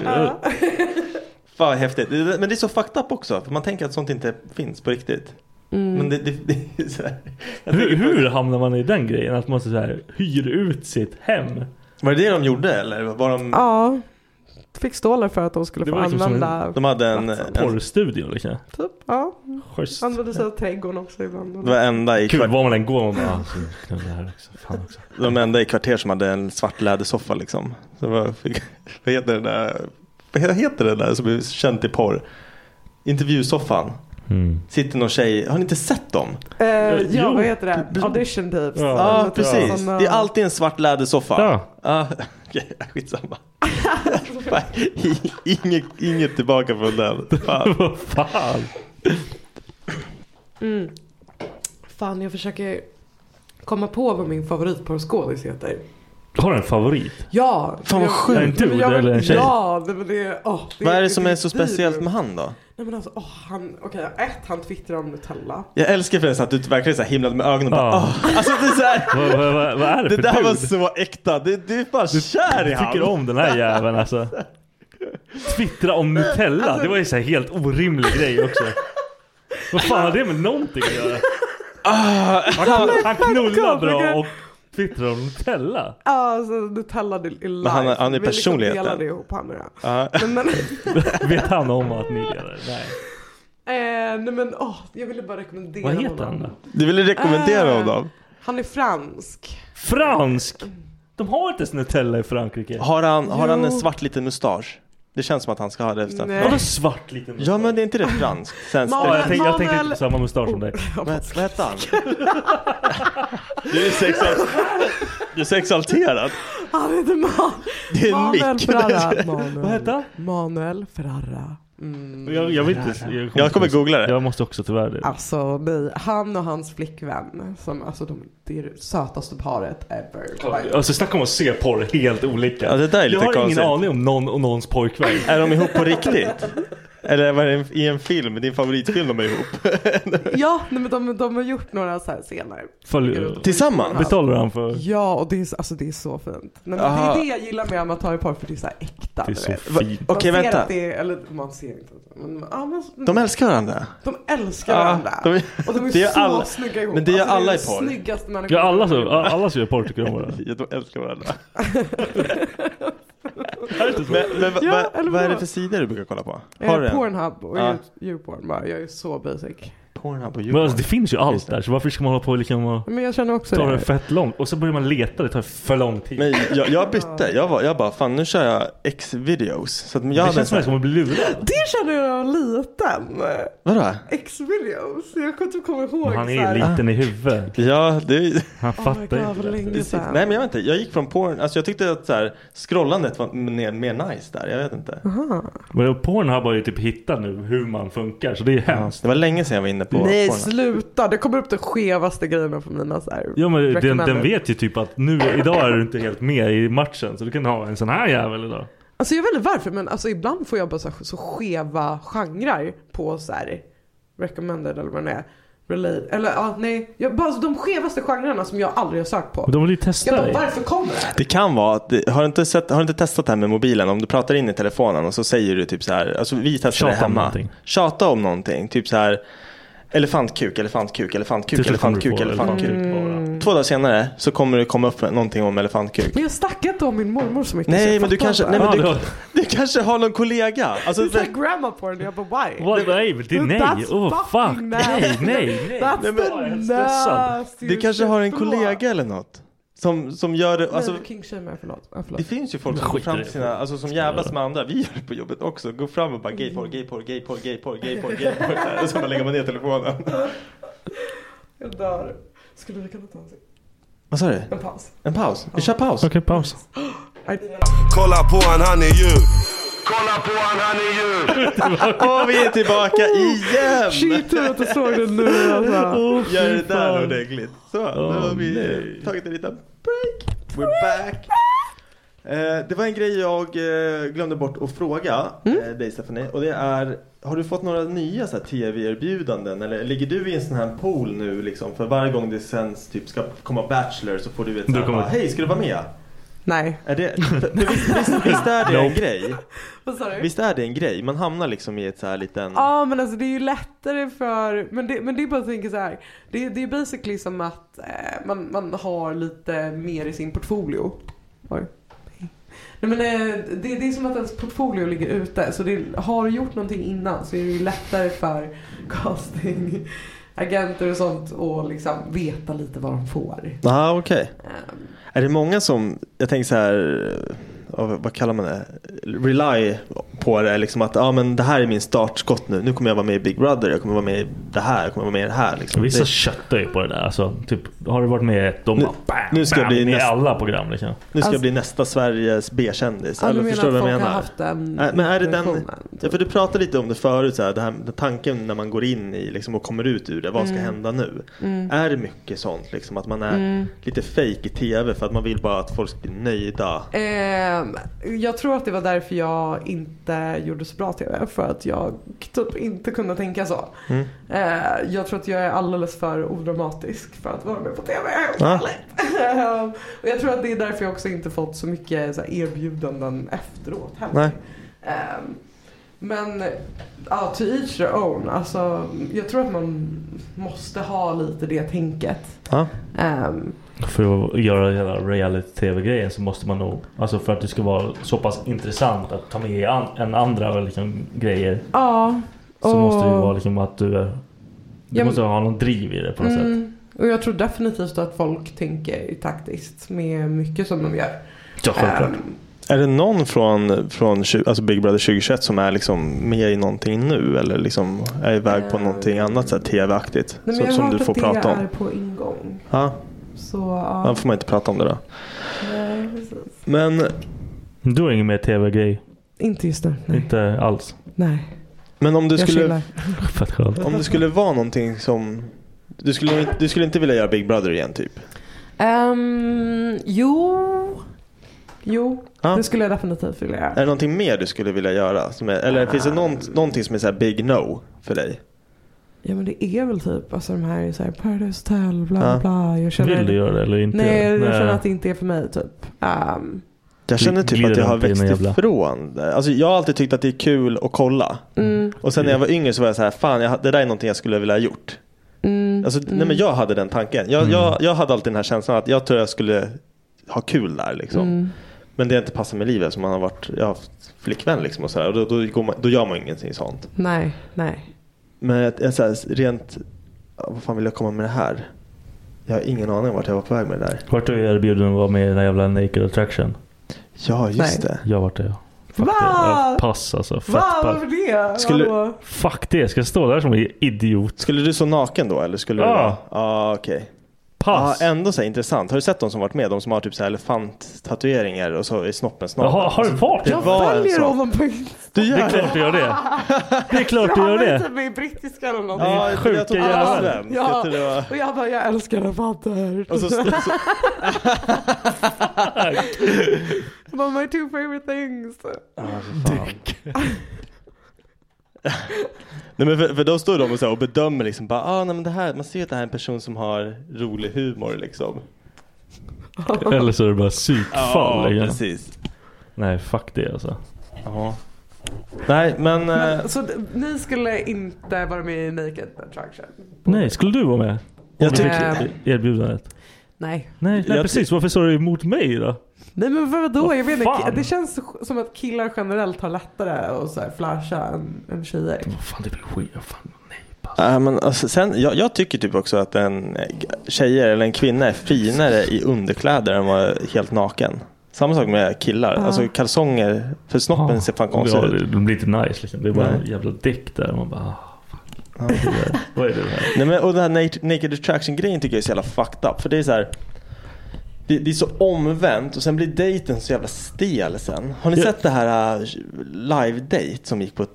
H: Fan vad häftigt. Det- Men det är så fucked up också. För man tänker att sånt inte finns på riktigt.
D: Mm.
H: Men det, det, det är så här.
D: Hur, hur hamnar man i den grejen? Att man så här, hyr ut sitt hem?
H: Var det det de gjorde eller? Var de...
E: Ja. Fick stålar för att de skulle
D: Det
E: få
D: var liksom som
E: använda.
D: en,
H: de hade en, en
D: porrstudio liksom.
E: Typ, ja.
D: Schysst.
E: Använde sig av trädgården också ibland.
H: Det var enda i
D: Gud
H: kvart...
D: var man än går man bara, alltså, knulla här också. Fan också.
H: De enda i kvarter som hade en svart lädersoffa liksom. Så vad, fick, vad heter det där? Vad heter det där som är känt i porr? Intervjusoffan.
D: Mm.
H: Sitter någon tjej. Har ni inte sett dem?
E: Eh, ja,
H: jo.
E: vad heter det? Audition tapes.
H: Ja,
E: Eller typ
H: precis.
E: såna-
H: Det är alltid en svart lädersoffa.
E: Ja.
H: Ja, Okej, skitsamma. Fan, i- inget, inget tillbaka från den. Fan.
D: Vad fan.
E: Mm. Fan, jag försöker komma på vad min favoritporrskådis heter.
D: Har du en favorit?
E: Ja!
D: Fan, vad
E: jag-
D: sjukt.
E: jag-
D: En dude
E: jag-
D: eller en tjej?
E: Ja, det, men det, åh, det
H: Vad är det som är
E: ett
H: så
E: liv.
H: speciellt med han då?
E: Nej men alltså, åh, han, okej, ett, han twittrar om Nutella.
H: Jag älskar förresten att du verkligen så här himlade med ögonen och bara,
D: Ja.
H: "Åh." Alltså det är så här,
D: Vad, vad, vad, vad är det
H: Det
D: för
H: där
D: dude?
H: var så äkta. Du, du är fan kär i
D: Jag
H: han.
D: tycker om den här jäveln alltså. Twittra om Nutella,
H: Alltså-
D: det var ju så här helt orimlig grej också. Vad fan har det med någonting att göra?
H: Ah,
D: Han, han knullar bra och twittrar om Nutella.
E: Ja, alltså Nutella det är live.
D: han är- han är
E: Vi liksom
D: personligheten.
E: delade ihop han och jag.
H: Ja.
E: Men, men,
D: Vet han om att ni lever? Nej.
E: eh, nej men åh, jag ville bara rekommendera
D: Vad heter han då?
H: Du ville rekommendera
E: Ah.
H: honom?
E: Han är fransk.
D: Fransk! De har inte ens Nutella i Frankrike.
H: Har han, har han en
D: Jo.
H: svart liten mustasch? Det känns som att han ska ha det. efter-
E: Nej.
D: Vadå svart liten
H: Ja men det är inte det franskt? Sen
E: Manuel-
D: Ja, jag, tänkte, jag tänkte
E: Manuel-
D: inte på samma mustasch som dig.
H: Vad vad hette han? Du är sexual... Du är sexalterad.
E: Han heter Man.
H: Det är en
E: Manuel
H: mick.
E: Ferrara. Manuel.
H: Vad
D: heter
E: Manuel Ferrara. Mm.
D: Jag, jag vet inte.
G: Jag kommer googla det.
D: Jag måste också tyvärr det.
E: Alltså nej, han och hans flickvän, som, alltså de, det är det sötaste paret ever.
D: Alltså snacka om att se porr helt olika.
G: Ja, det där är lite
D: jag har
G: konstigt.
D: ingen aning om någon och någons pojkvän.
G: Är de ihop på riktigt? Eller var det en- i en film, din favoritfilm de är ihop?
E: Ja, nej, men de, de har gjort några så här scener.
D: Följ,
G: Tillsammans?
D: Betalar han för?
E: Ja, och det är, så- alltså, det är så fint. Nej, men det
G: Aha.
E: är det jag gillar med amatörporr, för det är så här äkta.
D: Det är
E: du
D: så
E: vet.
D: fint. Okej,
E: Man ser
G: vänta.
E: att Det är, eller man ser inte. Men, ja, men,
G: De älskar varandra?
E: De älskar
G: Ja,
E: varandra.
G: de-
E: och de är
G: det gör
E: så
G: alla-
E: snygga ihop. Alltså,
G: men det gör
E: är
G: alla
E: de
G: i porr.
E: snyggaste människorna.
D: Ja, alla, så, alla som gör porr tycker om varandra.
G: Ja, de älskar varandra.
D: Är det inte så?
G: Men, men va,
E: Ja,
G: va,
E: eller
G: vad är det
E: vadå?
G: för sidor du brukar kolla på?
E: Eh,
G: Har du en?
E: Pornhub och
G: Ja.
E: ja. YouPorn bara. Jag är så basic.
G: Pornhub och
D: Men alltså, det
G: Djurgården.
D: finns ju allt där, så varför ska man hålla på och liksom och
E: Men jag känner också
D: ta det
E: det.
D: fett långt? Och så börjar man leta, det tar för lång tid.
G: Men jag, jag bytte, jag, var, jag bara fan nu kör jag X-videos. Så att jag
D: det
G: hade en
D: känns som
G: sån
D: att
G: här,
D: man blir lurad.
E: Det känner jag när jag var liten.
G: vadå?
E: X-videos. Jag kommer inte komma ihåg.
D: Han
E: så här.
D: är liten i huvudet.
G: Ja, det
D: Han
E: Oh my
D: fattar
E: God,
D: inte.
E: vad länge sedan.
G: Nej men jag vet inte, jag gick från porn, alltså jag tyckte att så här, scrollandet var mer, mer nice där, jag vet inte.
D: Men Pornhub har ju typ hittat nu hur man funkar, så det är ju hemskt.
G: Det var länge sedan jag var inne på
E: Nej
G: porn.
E: sluta, det kommer upp de skevaste grejerna på mina så här.
D: Ja men den,
E: recommended.
D: den vet ju typ att nu, idag är du inte helt med i matchen så du kan ha en sån här jävel idag.
E: Alltså jag vet inte varför men alltså ibland får jag bara så, här, så skeva genrer på så här recommended eller vad det är. Relate. Eller ja, nej. Jag, bara de skevaste genrerna som jag aldrig har sökt på.
D: Men de vill ju
E: Jag
D: testa
E: bara,
D: dig.
E: varför kommer det här?
G: Det kan vara att, det- har du, inte sett, har du inte testat det här med mobilen? Om du pratar in i telefonen och så säger du typ så här, alltså vi testar det
D: Tjata om
G: hemma.
D: någonting.
G: Tjata om någonting, typ så här elefantkuk, elefantkuk, elefantkuk, elefantkuk, elefantkuk.
D: elefantkuk.
G: Två dagar senare så kommer det komma upp någonting om elefantkuk.
E: Men jag snackar inte om min mormor så mycket. så
G: Nej
E: jag
G: men du
E: fattar
G: kanske,
E: inte.
G: nej, men
D: Ja, det
G: du,
D: var-
G: du kanske har någon kollega. Alltså,
E: Det är såhär grandma porn, jag bara why?
D: Vad, nej, men det är nej.
E: That's
D: Åh fuck.
E: fucking
D: Nej,
E: nasty.
D: nej, nej.
E: That's
D: Nej, men jag är
E: the
D: helt stressad.
E: nastiest
G: du kanske har en
E: shit, förlåt.
G: kollega eller något. Som, som gör det, alltså,
E: Nej, du kingshamear, förlåt. Ja, förlåt.
G: det finns ju folk
D: Men
G: som går
D: skit i
G: fram
D: det.
G: till sina, alltså som jävlas med andra. Vi gör det på jobbet också. Går fram och bara gayporr, gayporr, gayporr, gayporr, gayporr, gayporr. så här. Och så bara lägger man ner telefonen.
E: Jag dör. Skulle vi kunna ta en,
G: Vad sa du?
E: en paus?
G: En paus? Vi kör paus.
D: Okej, paus.
E: Nej.
J: Kolla på han, han är djur. Kolla på han, han är djur.
G: Och vi är tillbaka igen!
E: Shit, jag att du såg det nu alltså.
G: Gör det där ordentligt. Så, nu har vi eh, tagit en liten break. We're back. Eh, det var en grej jag eh, glömde bort att fråga
E: Mm.
G: eh, dig Stephanie. Och det är, har du fått några nya så här, tv-erbjudanden? Eller ligger du i en sån här pool nu liksom? För varje gång det sänds typ ska komma Bachelor så får du ett så
D: Du
G: här,
D: kommer-
G: bara, hej ska du vara med?
E: Nej.
G: Är det, för, för visst, visst, visst är det en grej?
E: Vad sa du?
G: Visst är det en grej? Man hamnar liksom i ett så här liten...
E: Ja men alltså det är ju lättare för, men det, men det är bara att tänka så här. Det, det är basically som att eh, man, man har lite mer i sin portfolio. Oj. Nej men eh, det, det är som att ens portfolio ligger ute. Så det, har du gjort någonting innan så är det ju lättare för castingagenter och sånt att liksom veta lite vad de får.
G: Ja, okej.
E: Eh,
G: Är det många som, jag tänker så här, ja, vad kallar man det, rely på det liksom att ja men det här är min startskott nu, nu kommer jag vara med i Big Brother, jag kommer vara med i det här, jag kommer vara med i det här liksom.
D: Vissa
G: Det,
D: köttar ju på det där. Alltså, typ, har du varit med i ett, de
G: Nu-
D: bara bam,
G: nu ska jag
D: bam,
G: bli
D: med i
G: näst-
D: alla program. Liksom.
G: nu ska
E: Alltså-
G: jag bli nästa Sveriges B-kändis.
E: Ja, du
G: Eller
E: menar
G: förstår du
E: att
G: vad
E: folk
G: jag
E: har
G: menar?
E: haft den
G: Nej, men är det den-
E: versionen,
G: Ja, för du pratade lite om det förut, så här, det här, den tanken när man går in i liksom, och kommer ut ur det, vad ska hända nu? Är det mycket sånt liksom, att man är lite fake i tv för att man vill bara att folk ska bli nöjda?
E: Ehm, jag tror att det var därför jag inte gjorde så bra TV. För att jag typ inte kunde tänka så.
G: Mm.
E: Ehm, jag tror att jag är alldeles för odramatisk för att vara med på TV.
G: Ja.
E: Ehm, och jag tror att det är därför jag också inte fått så mycket så här, erbjudanden efteråt heller.
G: Nej.
E: Ehm, men ja, to each their own. Alltså, jag tror att man måste ha lite det tänket.
G: Ja.
E: Ehm,
D: För att göra hela reality-tv-grejen så måste man nog... Alltså för att det ska vara så pass intressant att ta med i an, än andra liksom, grejer.
E: ja.
D: Så måste det ju
E: och-
D: vara liksom att du är... Du
E: Ja, men-
D: måste ha någon driv i det på något sätt.
E: Mm. Och jag tror definitivt att folk tänker taktiskt med mycket som de gör.
D: Ja, självklart.
E: Ehm,
G: Är det någon från, från tju- alltså Big Brother 2021 som är liksom med i någonting nu eller liksom är iväg på
E: Eh.
G: någonting annat så här tv-aktigt?
E: nej, men
G: som,
E: jag
G: som
E: har
G: du
E: hört
G: får
E: att
G: prata
E: det
G: om?
E: är på ingång.
G: Ja,
E: Så
G: då
E: ja.
G: får man inte prata om det då.
E: Nej, precis.
G: Men
D: Du har ingen mer tv-grej?
E: Inte just nu. Nej.
D: Inte alls?
E: nej.
H: Men om du
E: Jag
H: skulle...
E: chillar.
D: Fett skönt.
H: Om det skulle vara någonting som... Du skulle, inte- du skulle inte vilja göra Big Brother igen typ?
E: Ehm, jo. Jo.
H: Ja.
E: Det skulle jag definitivt vilja göra.
H: Är det någonting mer du skulle vilja göra? Som är, eller finns det någon, någonting som är så här big no för dig?
E: Ja men det är väl typ alltså de här, så här Paradise Hotel, bla
H: Ja.
E: bla. Jag känner,
H: Vill du göra det eller inte?
E: Nej, jag
H: Nej.
E: känner att det inte är för mig typ. Ehm,
H: Jag känner typ
D: Glider
H: att jag har
D: runt i
H: växt
D: någon jävla-
H: ifrån det. Alltså jag har alltid tyckt att det är kul att kolla.
E: Mm.
H: Och sen när jag var yngre så var jag så här, fan jag, det där är någonting jag skulle vilja ha gjort.
E: Mm.
H: Alltså, Nej men jag hade den tanken. Jag,
D: Mm.
H: jag, jag hade alltid den här känslan att jag tror jag skulle ha kul där liksom.
E: Mm.
H: Men det har inte passat med livet som man har varit, jag har haft flickvän liksom och sådär. Och då, då, går man, då gör man ingenting sånt.
E: Nej, nej.
H: Men jag, jag, så här, rent, ja, vad fan vill jag komma med det här? Jag har ingen aning om vart jag var på väg med det där.
D: Vart du erbjuden att vara med i den här jävla Naked Attraction?
H: Ja just
E: Nej.
H: det.
D: Jag vart det ja. Fuck
E: Va?
D: det. Ja, Pass alltså. Fett
E: Va?
D: pass.
E: Varför det?
H: Skulle-
E: Hallå?
D: Fuck det. Ska jag stå där som en idiot?
H: Skulle du så naken då eller skulle du?
D: Ja.
H: Ja ah, okej.
D: Pass.
H: Ja, ändå så här, intressant. Har du sett de som varit med? De som har typ så här elefanttatueringar och så är snoppen snart.
D: Jaha, har du varit?
H: Det
D: Jag
H: var en
E: Väljer
H: sån.
E: ovanpå.
H: Du
D: Det
H: gör
D: är
H: det?
D: klart du gör det. Det är klart du gör
E: Han är
D: det.
E: typ med i brittiska eller någonting.
H: Ja, jag tror- jag
D: Sjuka
H: tror det var
D: jävel.
H: svensk. Jag
E: Ja.
H: tror det var-
E: Och jag bara, jag älskar elefanter.
H: Och så, så,
E: One of my two favorite things.
H: nej men för, för då står de och, så här, och bedömer liksom bara, ah, nej, men det här, man ser ju att det här är en person som har rolig humor liksom.
D: Eller så är det bara psykfall. liksom.
H: ja,
D: igen.
H: precis.
D: Nej, fuck det alltså.
H: Ja. Nej men, eh,
E: Men, så d- ni skulle inte vara med i Naked Attraction?
D: Nej, skulle du vara med?
H: jag
E: tycker-
H: tycker,
E: Ehm,
D: Erbjudandet.
E: Nej.
D: Nej, nej
H: Jag
D: precis. Varför sa du emot mig då?
E: Nej men vadå?
D: Vad
E: Jag vet inte.
D: fan?
E: Det känns som att killar generellt har lättare att så här flasha än, än tjejer.
D: Vad fan, det blir skit. Vad Fan, nej.
H: Ja, men alltså, sen, jag, jag tycker typ också att en eh, tjejer eller en kvinna är finare i underkläder än vad helt naken. Samma sak med killar. Alltså kalsonger, för snoppen ser fan konstig
D: Ja,
H: ut.
D: det, det blir inte nice liksom. Det är bara
H: Nej.
D: en jävla däck där. Man bara, ah, fuck. Vad är det där? Vad är det där?
H: Nej, men, och den här nat- naked attraction grejen tycker jag är så jävla fucked up. För det är så här. Det, det är så omvänt och sen blir dejten så jävla stel sen. Har ni
D: Ja.
H: sett det här uh, live date som gick på ett,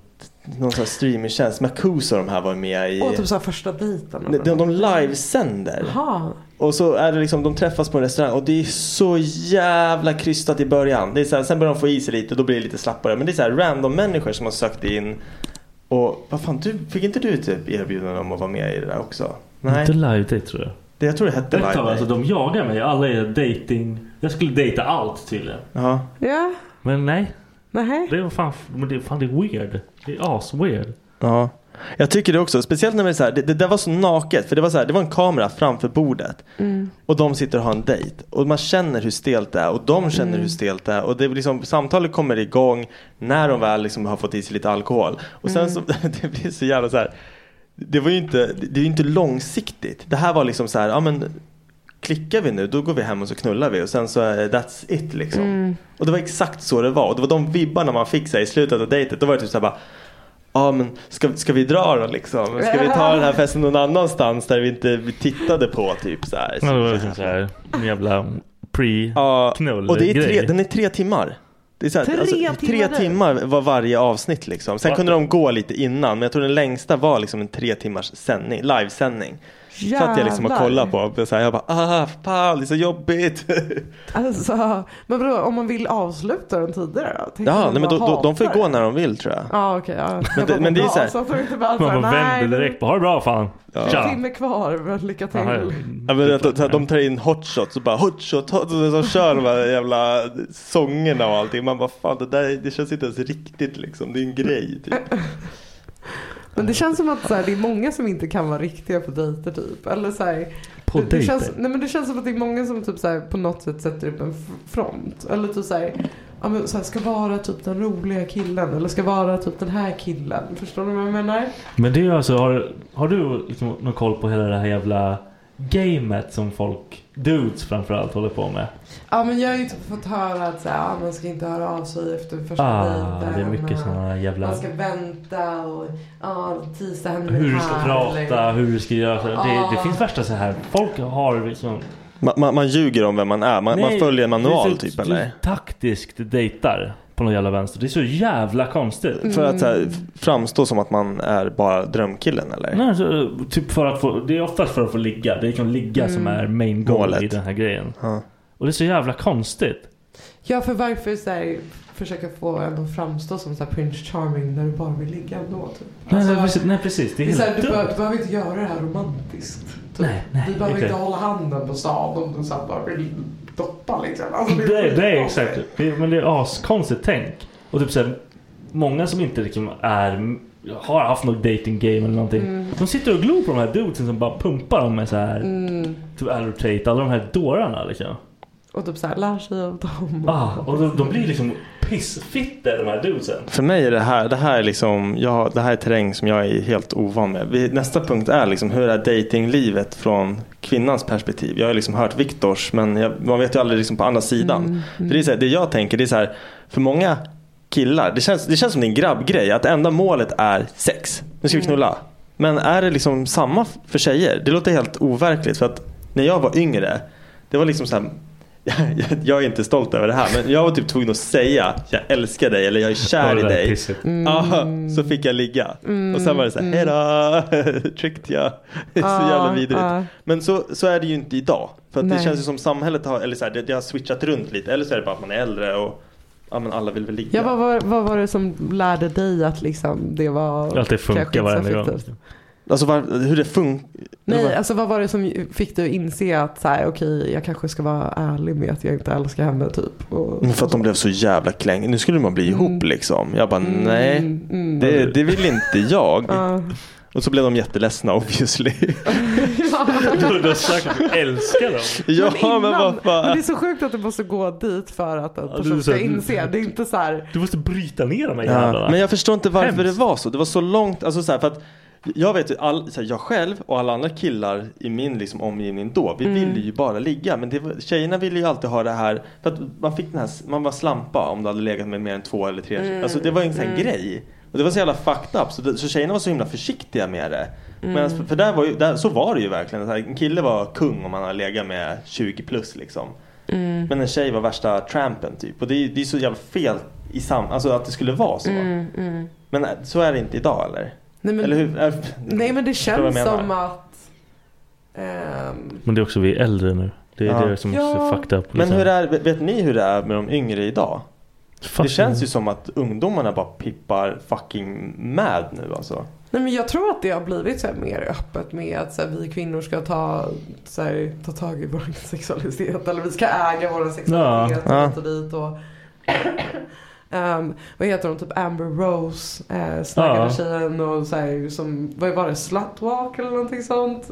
H: någon sån här streamingtjänst? Marcus och de här var med i.
E: Och typ såhär första dejten.
H: de, de, de livesänder.
E: Jaha.
H: Och så är det liksom, de träffas på en restaurang och det är så jävla krystat i början. Det är så här, sen börjar de få i sig lite och då blir det lite slappare. Men det är så här random människor som har sökt in. Och vad fan, du, fick inte du typ erbjudande om att vara med i det där också? Nej,
D: Inte live date tror jag.
H: det, jag tror det hette
D: Detta,
H: Live
D: alltså,
H: Day.
D: de jagar mig. Alla är dating. Jag skulle dejta allt tydligen.
H: Ja.
E: Ja.
D: Men nej.
E: Nej.
D: Det är fan, men det, är fan, det är weird. Det är as-weird.
H: Ja. Jag tycker det också. Speciellt när det är så här, det, det där var så naket. För det var så här, det var en kamera framför bordet. Och de sitter och har en dejt. Och man känner hur stelt det är. Och de känner hur stelt det är. Och det är liksom, samtalet kommer igång när de väl liksom har fått i sig lite alkohol. Och sen så, det blir så jävla så här. Det var ju inte, det är ju inte långsiktigt. Det här var liksom så här, ja men klickar vi nu då går vi hem och så knullar vi och sen så är that's it liksom. Och det var exakt så det var. Och det var de vibbarna man fick så här, i slutet av dejtet. Då var det typ så här bara Ja men ska, ska vi dra då liksom? Ska vi ta den här festen någon annanstans där vi inte vi tittade på typ så här?
D: Ja, det var liksom såhär, en jävla
H: Ja,
D: pre-knull
H: och det är tre,
D: grej.
H: den är tre timmar. Det är så här,
E: Tre
H: alltså, tre
E: timmar?
H: timmar var varje avsnitt liksom. Sen
D: What
H: kunde
D: the-
H: de gå lite innan men jag tror den längsta var liksom en tre timmars sändning, livesändning. Så att jag liksom och
E: Jävlar.
H: kollade på. Så här, jag bara ah fan det är så jobbigt.
E: Alltså, men vadå, om man vill avsluta den tidigare då? Tänk om
H: ja
E: man
H: nej, men då,
E: bara
H: då, de får ju
E: hatar
H: gå
E: det.
H: när de vill tror jag.
E: Ja okej. ja.
H: Men det-
E: bara,
H: men det är
E: bra,
H: så här-
E: att de inte
D: Man
E: bara
D: bara
E: såhär, nej,
D: vänder
E: det-
D: direkt på, ha det bra fan.
E: En
D: Tja.
E: timme kvar, men lycka till.
D: Aha,
H: Ja, men att, att, att de tar in hotshots och bara hotshot, hotshot och så kör de här jävla sångerna och allting. Man bara fan det där det känns inte ens riktigt liksom. Det är en grej typ.
E: Men det känns som att så här, det är många som inte kan vara riktiga på dejter typ. Eller så här,
D: På
E: det, det,
D: dejter.
E: känns, nej, men det känns som att det är många som typ så här, på något sätt sätter upp en f- front. Eller typ så här, ja, men, så här, ska vara typ den roliga killen. Eller ska vara typ den här killen. Förstår du vad jag menar?
D: Men det är ju alltså, har, har du liksom någon koll på hela det här jävla gamet som folk, dudes framförallt, håller på med?
E: Ja men jag har ju typ fått höra att så här, ja, man ska inte höra av sig efter första
D: Ah,
E: dejten.
D: det är mycket sådana jävla...
E: Man ska vänta och ja, tisa henne
D: Hur du ska
E: här,
D: prata,
E: eller-
D: hur du ska göra. så- Det, det
E: Ah.
D: finns värsta så här. Folk har liksom...
H: Man, man, man ljuger om vem man är. Man, man
D: Nej,
H: följer en
D: det är
H: manual
D: så-
H: typ
D: du
H: eller?
D: Taktiskt dejtar.
C: på någon jävla vänster. Det är så jävla konstigt.
D: För att så här, framstå som att man är bara drömkillen eller?
C: Nej, så, typ för att få, det är oftast för att få ligga. Det är liksom ligga
E: Mm.
C: som är main goal
D: Målet.
C: i den här grejen. Och det är så jävla konstigt.
E: Ja, för varför så här, försöka få en att framstå som så här Prince Charming när du bara vill ligga ändå? Typ.
C: Nej, nej, precis, nej precis, det är
E: Det är så
C: helt
E: här, du,
C: dumt.
E: behöver, du behöver inte göra det här romantiskt. Typ.
C: Nej, nej,
E: du behöver
C: exakt.
E: inte hålla handen på stan om du så här bara vill doppa liksom. Alltså, det är
C: Det, det är
E: skitkonstigt.
C: exakt. Det, men det är askonstigt tänk. Och typ såhär, många som inte liksom är, har haft något dating game eller någonting.
E: Mm.
C: De sitter och glor på de här dudesen som bara pumpar dem med såhär,
E: Mm.
C: typ Andrew Tate, alla de här dårarna liksom.
E: Och typ så här, lär sig av dem.
C: Ah, och de, de blir liksom pissfitter de här dudesen.
D: För mig är det här, det här är liksom, jag, det här är terräng som jag är helt ovan med. Vi, nästa punkt är liksom, hur är datinglivet från kvinnans perspektiv? Jag har liksom hört Viktors men jag, man vet ju aldrig liksom på andra sidan.
K: Mm,
D: För det, är så här, det jag tänker det är så här, för många killar, det känns, det känns som det är en grabbgrej att det enda målet är sex. Nu ska vi
K: Mm.
D: knulla. Men är det liksom samma f- för tjejer? Det låter helt overkligt för att när jag var yngre, det var liksom så här jag- jag är inte stolt över det här men jag var typ tvungen att säga jag älskar dig eller jag
C: Ja,
D: är kär
C: det
D: i
C: där
D: dig.
C: pisset.
D: Ja, så fick jag ligga.
K: Mm,
D: Och sen var det så här,
K: mm.
D: hejdå, tricked jag. så
K: Ah,
D: jävla vidrigt.
K: ah.
D: Men så, så är det ju inte idag. För att det
K: Nej.
D: känns ju som samhället har, eller så här, det, det har switchat runt lite. Eller så är det bara att man är äldre och ja, men alla vill väl ligga.
E: Ja, vad, var, vad var det som lärde dig att liksom det var
D: Att det funkar
E: kanske inte så
D: varenda gång.
E: effektivt?
D: Alltså var, hur det funkar.
E: Nej, alltså vad var det som fick dig att inse att så här, okej, jag kanske ska vara ärlig med att jag inte älskar henne typ? Och...
D: Men För att de blev så jävla kläng. Nu skulle man bli ihop liksom. Jag bara nej,
E: mm.
D: det, det vill inte jag.
E: Ja.
D: Och så blev de jätteledsna obviously.
C: Du borde ha sagt att du älskar dem.
D: Ja, men vad fan.
E: men det är så sjukt att du måste gå dit för att en
D: det är
E: person
D: så
E: ska
D: här-
E: inse. Det är inte så här.
C: Du måste bryta ner de här
D: Ja,
C: jävlarna.
D: men jag förstår inte varför
C: Hemskt.
D: det var så. Det var så långt, alltså så här, för att jag vet ju, all, så här, jag själv och alla andra killar i min liksom, omgivning då, vi
K: Mm.
D: ville ju bara ligga. Men det var, tjejerna ville ju alltid ha det här, för att man fick den här, man var slampa om du hade legat med mer än två eller tre.
K: Mm.
D: Alltså det var ju en sån här
K: Mm.
D: grej. Och det var så jävla fucked up, så, det, så tjejerna var så himla försiktiga med det.
K: Mm.
D: Medans- för- för där var ju, där, så var det ju verkligen. Så här, En kille var kung om han hade legat med 20 plus liksom.
K: Mm.
D: Men en tjej var värsta trampen typ. Och det är, det är så jävla fel i sam... Alltså att det skulle vara så.
E: Mm, mm.
D: Men äh, så är det inte idag eller?
E: Nej, men-
D: eller hur? Äh,
E: Nej men det
D: förstår vad jag
E: känns
D: menar.
E: som att. ehm,
C: Men det är också vi är äldre nu. Det är det som är så fucked up. liksom.
D: Men hur är, vet vet ni hur det är med de yngre idag? det känns ju som att ungdomarna bara pippar fucking mad nu alltså.
E: Nej men jag tror att det har blivit så här mer öppet med att så här, vi kvinnor ska ta, så här, ta tag i vår sexualitet. Eller vi ska äga vår sexualitet
D: Ja.
E: och hit och dit. Och, Ehm, vad heter hon? Typ Amber Rose. Uh, snackade
K: Ja.
E: tjejen och så här, som, vad var det? Slutwalk eller någonting sånt.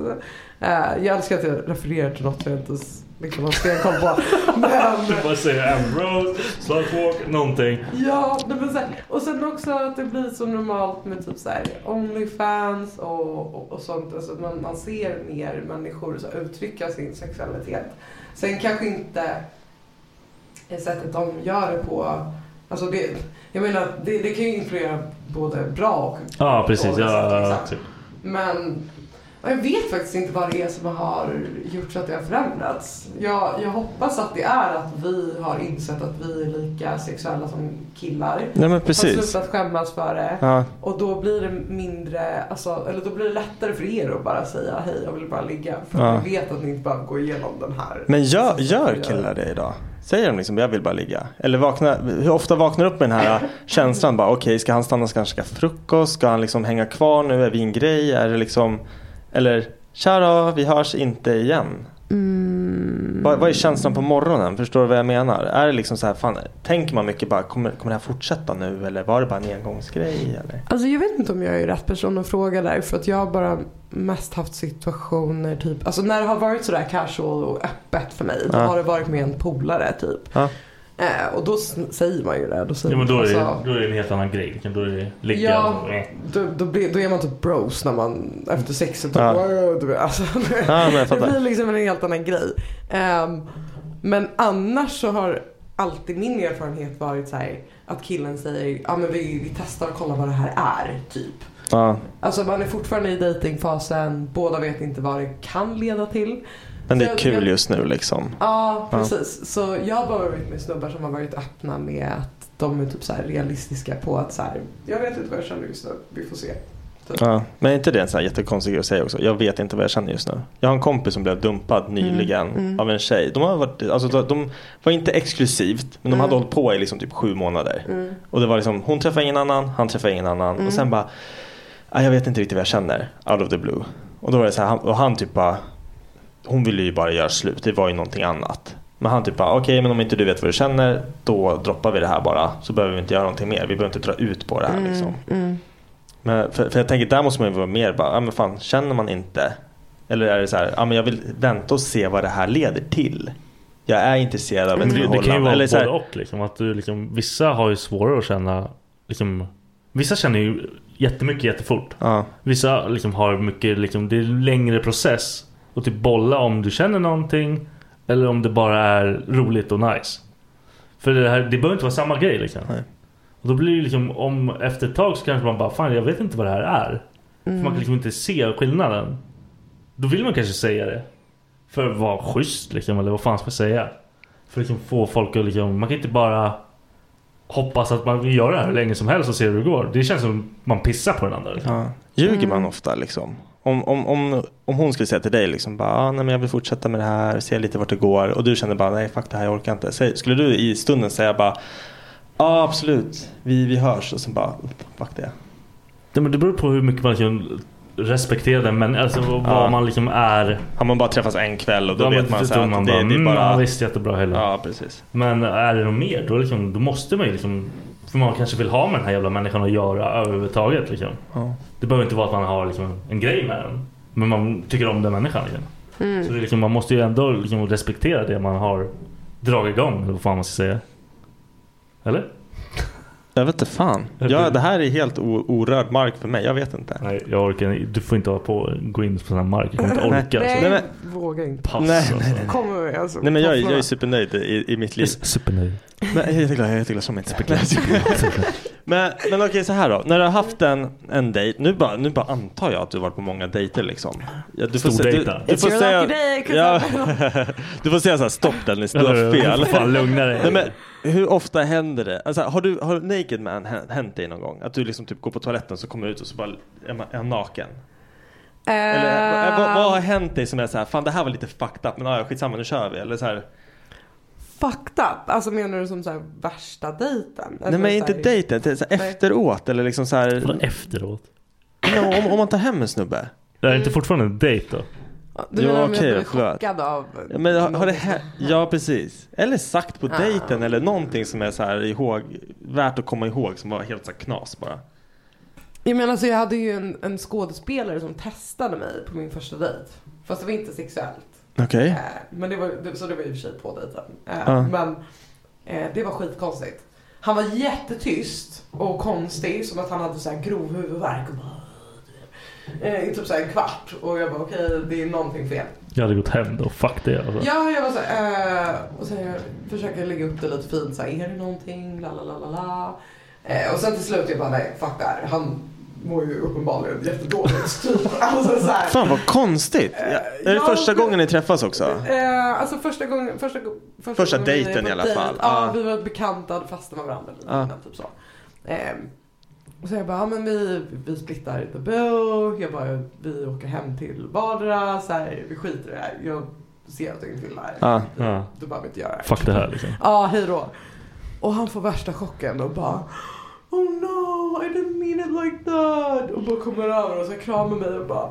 E: Eh, jag älskar att jag refererar till något jag inte ens liksom, har stenkoll på. Men-
C: Du bara säger Ambrose, Slutwalk, någonting.
E: Ja, nej, men så här, och sen också att det blir så normalt med typ så här Onlyfans och, och, och sånt. Alltså man, man ser mer människor så här, uttrycka sin sexualitet. Sen kanske inte det sättet de gör det på. Alltså det, jag menar, det, det kan ju influera både bra och
C: Ja, precis.
E: dåliga sätt,
C: Ja,
E: liksom.
C: typ.
E: Men ja, jag vet faktiskt inte vad det är som har gjort så att det har förändrats. Jag, jag hoppas att det är att vi har insett att vi är lika sexuella som killar.
D: Nej, men precis.
E: Har slutat skämmas för det.
D: Ja.
E: Och då blir det mindre, alltså, eller då blir det lättare för er att bara säga hej jag vill bara ligga. För
D: Ja.
E: vi vet att ni inte behöver gå igenom den här.
D: Men gör, gör killar det idag? Säger de liksom jag vill bara ligga? Eller vakna, hur ofta vaknar upp med den här känslan bara okej ska han stanna, ska han käka frukost, ska han liksom hänga kvar nu, är vi en grej, är det liksom Eller tja då, vi hörs inte igen.
E: Mm.
D: Vad, vad är känslan på morgonen? Förstår du vad jag menar? Är det liksom så här, fan, tänker man mycket bara kommer, kommer det här fortsätta nu eller var det bara en engångsgrej? Eller?
E: Alltså jag vet inte om jag är rätt person att fråga där för att jag har bara mest haft situationer typ, alltså när det har varit sådär casual och öppet för mig då
C: Ja.
E: har det varit med en polare typ.
D: Ja.
E: Eh, och då s- säger man ju det. Då säger
C: Ja, men då är, det,
E: alltså,
C: då är det en helt annan grej. Då är det ligga
E: Ja.
C: och... eh.
E: då, då, blir, då är man typ bros när man efter sexet.
C: Ja.
E: Ja. Alltså,
C: men jag
E: det
C: fattar.
E: blir liksom en helt annan grej. Ehm, men annars så har alltid min erfarenhet varit så här att killen säger ja men vi, vi testar och kollar vad det här är typ.
D: Ja.
E: Alltså man är fortfarande i datingfasen. Båda vet inte vad det kan leda till.
D: Men det
E: Så
D: är
E: jag-
D: kul
E: jag-
D: just nu liksom.
E: Ja, precis. Så jag har bara varit med snubbar som har varit öppna med att de är typ så här realistiska på att så här, jag vet inte vad jag känner just nu, vi får se. Typ.
D: Ja, men är inte det en så här jättekonstig grej att säga också? Jag vet inte vad jag känner just nu. Jag har en kompis som blev dumpad nyligen
E: mm.
D: av en tjej. De, har varit, alltså, de- de var inte exklusivt, men de hade hållit på i liksom typ sju månader.
E: Mm.
D: Och det var liksom, hon träffade ingen annan, han träffade ingen annan.
E: Mm.
D: Och sen bara, "Ah, jag vet inte riktigt vad jag känner, out of the blue. Och då var det så här, han, och han typ bara, hon ville ju bara göra slut, det var ju någonting annat. Men han typ bara, okej men om inte du vet vad du känner, då droppar vi det här bara. Så behöver vi inte göra någonting mer, vi behöver inte dra ut på det här liksom.
E: Mm.
D: Men för, för jag tänker där måste man ju vara mer bara, ja men fan känner man inte? Eller är det så här, ja men jag vill vänta och se vad det här leder till. Jag är intresserad av ett
G: Men det,
D: förhållande.
G: det kan ju vara
D: Eller så här,
G: både och liksom, att du liksom, Vissa har ju svårare att känna liksom, Vissa känner ju jättemycket jättefort Vissa liksom har mycket liksom, Det är en längre process Och typ bolla om du känner någonting Eller om det bara är roligt och nice För det, här, det behöver inte vara samma grej liksom Och då blir det liksom om, Efter ett tag så kanske man bara Fan jag vet inte vad det här är
E: Mm.
G: För man kan liksom inte se skillnaden Då vill man kanske säga det För att vara schysst liksom eller vad fan ska jag säga För att liksom få folk att liksom Man kan inte bara Hoppas att man vill göra det här hur länge som helst och se hur det går Det känns som man pissar på den andra liksom.
D: Ja. Ljuger man ofta liksom? Om, om, om, om hon skulle säga till dig liksom bara, ah, nej men jag vill fortsätta med det här, se lite vart det går. Och du känner bara, nej fuck det här, jag orkar inte. Säg, skulle du i stunden säga bara, ja ah, absolut, vi, vi hörs. Och sen bara, fuck det.
G: Det, men det beror på hur mycket man liksom respekterar den men alltså vad
D: Ja.
G: man liksom är
D: Har man bara träffats en kväll och då vet man så här att
G: man
D: det-
G: bara,
D: det är
G: mm,
D: bara-
G: ja, visst jättebra heller.
D: Ja, precis.
G: Men är det något mer då, liksom, då måste man ju liksom För man kanske vill ha med den här jävla människan att göra överhuvudtaget liksom.
D: Ja.
G: Det behöver inte vara att man har liksom, en grej med den Men man tycker om den människan liksom. Så det är liksom, man måste ju ändå liksom respektera det man har dragit igång eller vad fan man ska säga. Eller?
D: Jag vet inte fan. Ja, det här är helt o- orörd mark för mig. Jag vet inte.
G: Nej, jag orkar Du får inte på, gå in på sån här mark. Jag kommer inte orka.
E: Nej,
G: alltså.
E: våga inte.
G: Pass, Nej, alltså. nej,
D: nej.
E: Kommer vi, alltså.
D: Nej men jag, är- jag är
E: Tofflorna.
D: supernöjd i, i mitt liv.
G: Supernöjd.
D: Men jag är jätteglad, jag är jätteglad som inte. men, men okej så här då. När du har haft en, en dejt. Nu bara, nu bara antar jag att du har varit på många dejter liksom. Ja, du se- du,
G: Stordejta.
D: du, får
G: It's your
D: säga,
G: lucky day, 'cause
D: ja, du får säga så här, stopp Dennis, du har fel.
G: Fan, lugna dig.
D: Nej, men, hur ofta händer det? Alltså, har, du, har Naked Man hä- hänt dig någon gång? Att du liksom typ går på toaletten så kommer du ut och så bara är, man, är han naken? Eller, vad, vad,
E: Eh.
D: vad har hänt dig som är så här, fan det här var lite fucked up men ja, ja, skitsamma nu kör vi. Eller så här,
E: Fucked up? Alltså menar du som så här värsta dejten?
D: nej men inte dejten, det är så här,
E: Nej.
D: efteråt eller liksom så här.
G: efteråt?
D: Ja, om, om man tar hem en snubbe.
G: Det är inte fortfarande en dejt då?
E: Du menar om jag
D: okej,
E: blir
D: förlåt.
E: chockad av Mm.
D: Ja, men har, har det här, ja precis. Eller sagt på
E: Ah.
D: dejten eller någonting som är så här ihåg, värt att komma ihåg som var helt så här knas bara.
E: Jag menar så jag hade ju en, en skådespelare som testade mig på min första dejt. Fast det var inte sexuellt.
D: Okej.
E: Eh, Men det var, det- så det var i och för sig på dejten. Eh,
D: Ja.
E: Men eh, det var skitkonstigt. Han var jättetyst och konstig som att han hade så här grov huvudvärk. Och bara, eh, i typ så här en kvart och jag bara okej det är någonting fel.
G: Jag hade gått hem då, fuck det alltså.
E: Ja, jag var så här, eh, och sen jag försöker lägga upp det lite fint så här, är det någonting, la la la la la. Eh, och sen till slut jag bara, nej fuck det här, han mår ju uppenbarligen jättedåligt typ. Alltså så här. Eh,
D: Fan vad konstigt. Ja, är det
E: ja,
D: första
E: men-
D: gången ni träffas också?
E: Eh, alltså första gången, första, go-
D: Första
E: gången vi
D: dejten
E: var
D: i alla
E: dejt,
D: fall,
E: Ja,
D: ah.
E: vi var bekanta, fastnade med varandra lite
D: Ah.
E: innan, typ så. Eh, och så jag bara, ja men vi, vi splittar the bill. Jag bara, vi åker hem till vardera. Så här, vi skiter i det här. Jag ser att jag inte vill det här. Typ,
D: Ja.
G: Ah, Ja.
E: Du behöver inte göra det.
G: Fuck det här liksom.
E: Ja, hej då. Och han får värsta chocken och bara Oh no, I didn't mean it like that. Och bara kommer över och så kramar mig och bara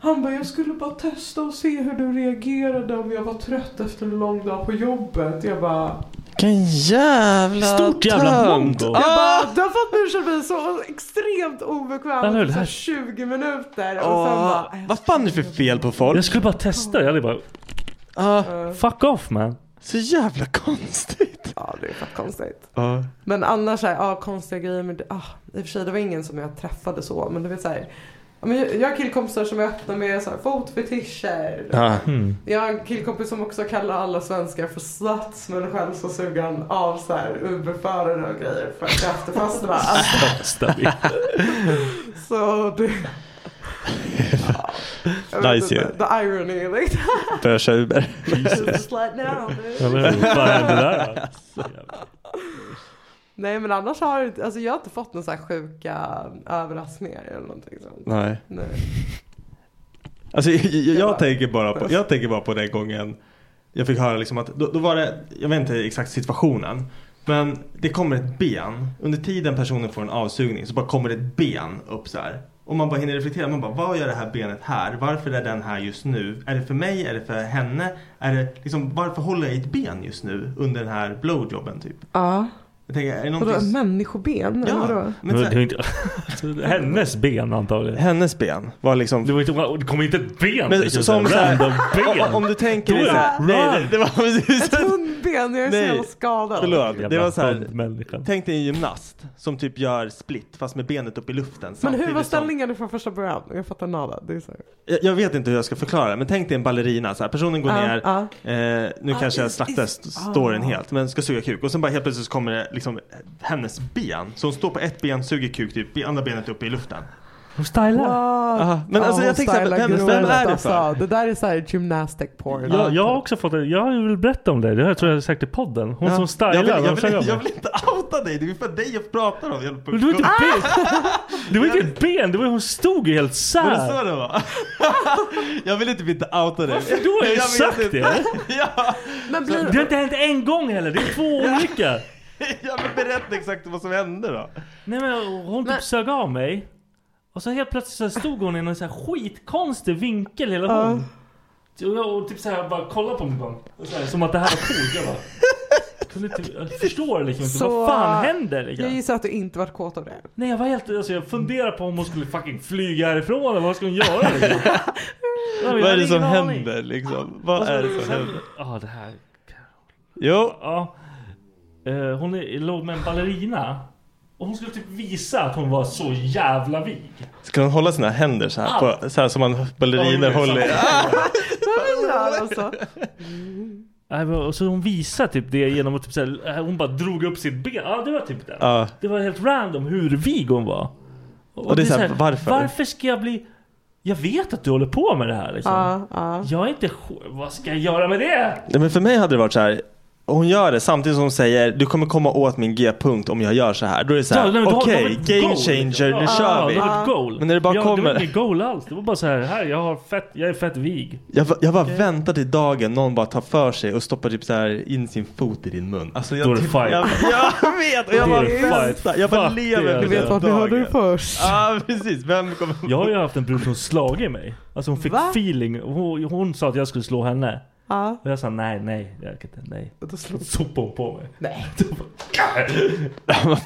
E: Han bara, jag skulle bara testa och se hur du reagerade om jag var trött efter en lång dag på jobbet. Jag bara
D: Vilken jävla
E: Stort
G: jävla
D: tönt.
G: mongo.
E: Alltså, jag
D: Ah!
E: bara, du har fått mig att känna mig så extremt obekväm
G: Eller hur, det
E: efter så
G: här-
E: här 20 minuter. Och sen
D: Åh,
E: bara,
D: vad fan är det för fel på folk?
G: Jag skulle bara testa. Jag hade bara... Fuck off man.
D: Så jävla konstigt.
E: Ja, det är fett konstigt.
D: Ja.
E: Men annars så här, ja konstiga grejer med ah, I och för sig det var ingen som jag träffade så men du vet så här, ja, men jag jag har killkompisar som är öppna med så här, fotfetischer. Liksom.
D: Ja.
G: Mm.
E: Jag har en killkompis som också kallar alla svenskar för sluts men själv så suger han av så här Uberförare och grejer för att efterfesterna. Alltså, så det... Jag vet
D: Nice
E: inte,
D: ju.
E: The irony liksom. like
D: Börja Uber.
E: Just like now.
G: Eller hur? Vad hände där då?
E: Nej men annars har jag inte- alltså jag har inte fått några så här sjuka överraskningar eller någonting sånt.
D: Nej.
E: Nej.
D: Alltså, jag, jag, jag, tänker bara på, jag tänker bara på den gången jag fick höra liksom att, då, då var det, jag vet inte exakt situationen. Men det kommer ett ben, under tiden personen får en avsugning så bara kommer det ett ben upp så här. Och man bara hinner reflektera, man bara vad gör det här benet här? Varför är den här just nu? Är det för mig? Är det för henne? Är det, liksom, varför håller jag i ett ben just nu under den här blowjobben typ?
E: Ja.
D: Jag tänker, är det
E: Vadå
D: någonting...
E: människoben?
D: Ja,
E: eller vadå?
D: men så här-
F: Det är inte- Hennes ben antagligen.
D: Hennes ben var liksom...
F: Det, var inte, det kom inte ett ben.
D: Men
F: liksom,
D: som
F: så
D: så
F: här,
D: här-
F: random ben.
D: Om- om du tänker
F: Då är
D: dig så här-
F: det-
D: Nej,
F: run.
D: det, det var precis
E: Ett hundben, jag är så
D: Nej,
E: jävla skadad.
D: Förlåt, det
F: Jävla
D: var så här,
F: hundmänniska.
D: tänk dig en gymnast som typ gör split fast med benet upp i luften.
E: Men hur
D: samtidigt
E: var
D: som-
E: ställningen från första början? Jag fattar nada. Det är så här.
D: Jag, jag vet inte hur jag ska förklara det, men tänk dig en ballerina. Så här, personen går
E: Ja,
D: ner,
E: ja.
D: Eh, nu
E: Ja,
D: kanske jag
E: is-
D: slaktar
E: is-
D: st- storyn
E: ah.
D: helt, men ska suga kuk. Och sen bara helt plötsligt så kommer det liksom hennes ben. Så hon står på ett ben, suger kuk, typ, i andra benet upp i luften.
F: Hon stylar.
D: Aha, men alltså,
E: hon
D: jag tänker så här,
E: stylar
D: vem- vem
E: grovt,
D: är det för?
E: Alltså. Det där är så här gymnastic porn.
F: Ja, jag har också fått det. Jag har väl berättat om det. Det har jag tror jag sagt i podden. Hon
D: Ja.
F: som stylar.
D: Jag vill,
F: de
D: jag,
F: kör
D: vill,
F: över.
D: jag vill inte outa dig, det är för dig jag pratar om. Jag
F: Men det var inte ett ben. Det var inte ett ben. Det var hon stod ju helt sär.
D: Var det så det var? jag vill inte bli inte outa dig.
F: Varför då? Har jag
D: vet
F: sagt
D: inte.
F: det?
D: ja.
E: Men
F: Det har inte hänt en gång heller. Det är två olika.
D: ja, men berätta exakt vad som hände då.
F: Nej men hon typ sög av mig. Och så helt plötsligt så stod hon i någon så här skitkonstig vinkel hela hon. Och jag och typ så här bara kollade på mig bara. Och så här, som att det här var coolt. Jag bara. jag Kunde inte, jag förstår liksom inte. vad fan händer liksom?
E: Jag gissar att du inte varit kåt av det.
F: Nej jag var helt, alltså jag funderade på om hon skulle fucking flyga härifrån eller vad ska hon göra liksom? Jag hade
D: Vad är det
F: ingen
D: som
F: aning.
D: händer liksom? Vad är det som händer?
F: Ja det här.
D: Jo.
F: Ja. Eh, Hon är- låg med en ballerina. Och hon skulle typ visa att hon var så jävla vig.
D: Ska hon hålla sina händer så här, på, så här som man balleriner håller?
E: Vad gör alltså?
F: Nej, men- Och så hon visade typ det genom att typ såhär, hon bara drog upp sitt ben. Ja det var typ det.
D: Ja.
F: Det var helt random hur vig hon var.
D: Och det är så här,
F: såhär,
D: varför?
F: Varför ska jag bli... Jag vet att du håller på med det här liksom.
E: Ja, ja.
F: Jag är inte sj- Vad ska jag göra med det?
D: Nej, men för mig hade det varit så här. Hon gör det samtidigt som hon säger du kommer komma åt min g-punkt om jag gör så här. Då är det så
F: Ja, nej,
D: här,
F: men då har- då har vi
D: okej,
F: ett
D: game
F: goal,
D: changer,
F: liksom.
D: nu
F: Ja,
D: kör vi.
F: då har vi ett goal.
D: Men när det bara
F: ja, Det
D: kommer-
F: var inget goal alls. Det var bara så här, här jag, har fett, jag är fett vig.
D: Jag, va- jag bara väntar till dagen någon bara tar för sig och stoppar typ så här in sin fot i din mun. Alltså jag,
F: Då är det
D: typ-
F: fight.
D: jag, jag vet och jag
F: Då är
D: bara
F: det fight.
D: väntar. Jag bara
F: Fuck
D: lever
F: det.
D: för
F: Du vet
D: den
F: vart
E: Ni hörde det
D: dagen.
E: först.
D: Ja precis, vem kommer...
F: Jag har ju haft en brud som slagit mig. Alltså hon fick
E: Va?
F: feeling. Hon, hon sa att jag skulle slå henne.
E: Ja.
F: Och jag sa nej, nej, jag kan inte, nej.
E: Då slog
F: Sopade hon på mig.
E: Nej.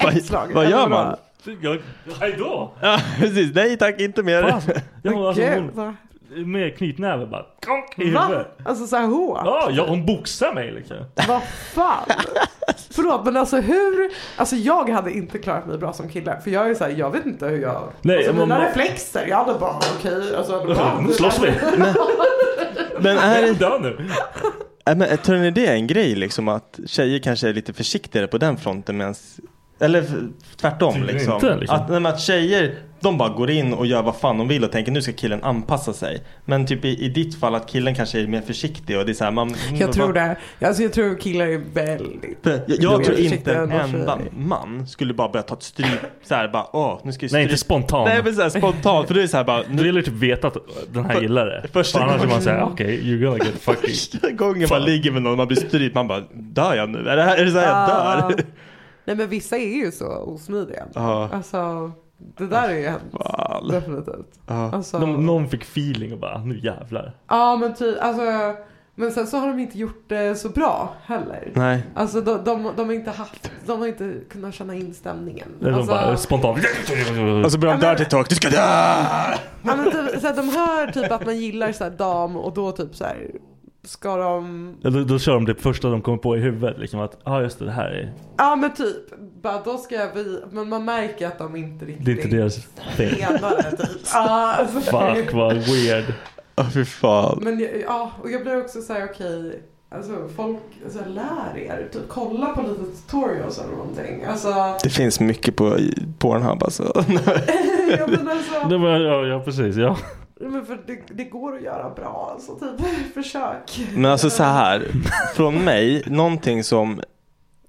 D: vad,
E: slag.
D: vad
E: Ja,
D: gör
E: men
D: man?
F: Jag, hejdå!
D: Ja precis, nej tack inte mer.
F: Fan, alltså. Jag, var- alltså,
E: Gud,
F: hon,
E: vad-
F: med knytnäve bara konk i
E: Va?
F: huvudet.
E: Alltså så här hårt?
F: Ja, ja, hon boxar mig liksom.
E: Vad fan? Förlåt men alltså hur? Alltså jag hade inte klarat mig bra som kille. För jag är så här, jag vet inte hur jag...
F: Nej,
E: alltså,
F: men-
E: mina reflexer, jag hade bara okej. alltså, jag hade bara-
F: Nu slåss vi!
D: Men är
F: Jag är
D: det,
F: död nu.
D: äh, men, äh, tror ni det är en grej liksom att tjejer kanske är lite försiktigare på den fronten medans eller f- tvärtom
F: Tydligen
D: liksom.
F: inte, liksom.
D: Att, nej, men att tjejer, de bara går in och gör vad fan de vill och tänker nu ska killen anpassa sig. Men typ i, i ditt fall att killen kanske är mer försiktig och det är så här, man...
E: Jag tror det. Alltså jag tror killar är väldigt...
D: Jag,
E: Jag
D: jag tror
E: är
D: inte en
E: försiktig ändå,
D: enda
E: tjejer.
D: man skulle bara börja ta ett stryk så här bara åh nu ska vi
F: Nej, inte
D: stryka."
F: spontant.
D: Nej men så här spontant för det är så här bara
F: Du
D: nu,
F: vill ju typ veta att den här
D: För-
F: gillar det.
D: första
F: För annars är
D: gången.
F: man såhär, okej, you're gonna get fucking...
D: första gången man ligger med någon man blir strypt man bara dör jag nu? Är det, här, är det så här jag
E: Ah.
D: dör?
E: Nej men vissa är ju så osmidiga.
D: Ja.
E: Alltså det där är ju hemskt.
D: Fan.
E: Definitivt.
D: Ja.
E: Alltså,
F: Någon, någon fick feeling och bara, nu jävlar.
E: Ja men ty, alltså, men sen så har de inte gjort det så bra heller.
D: Nej.
E: Alltså de, de, de har inte haft, de har inte kunnat känna in stämningen.
F: De
E: alltså,
F: bara spontant...
D: Och så blir de dirty talk, du ska dö!
E: ja, men typ, så här, de hör typ att man gillar så här, dam och då typ så här, ska de,
F: Ja, Då, då kör de det första de kommer på i huvudet liksom att, ja ah, just det, det här är...
E: ja men typ, bara då ska jag vi, men man märker att de inte riktigt
F: Det är inte deras thing.
E: menar det typ. Ja, alltså.
F: Fuck vad weird.
D: Åh fy fan.
E: Men jag- ja, och jag blir också så här okej, alltså folk, alltså, lär er, typ kolla på lite tutorials eller någonting. Alltså,
D: Det finns mycket på Pornhub alltså.
E: ja, men alltså.
F: Det var, ja, ja precis, ja.
E: Men för det, det går att göra bra, alltså typ försök.
D: Men alltså så här. från mig, någonting som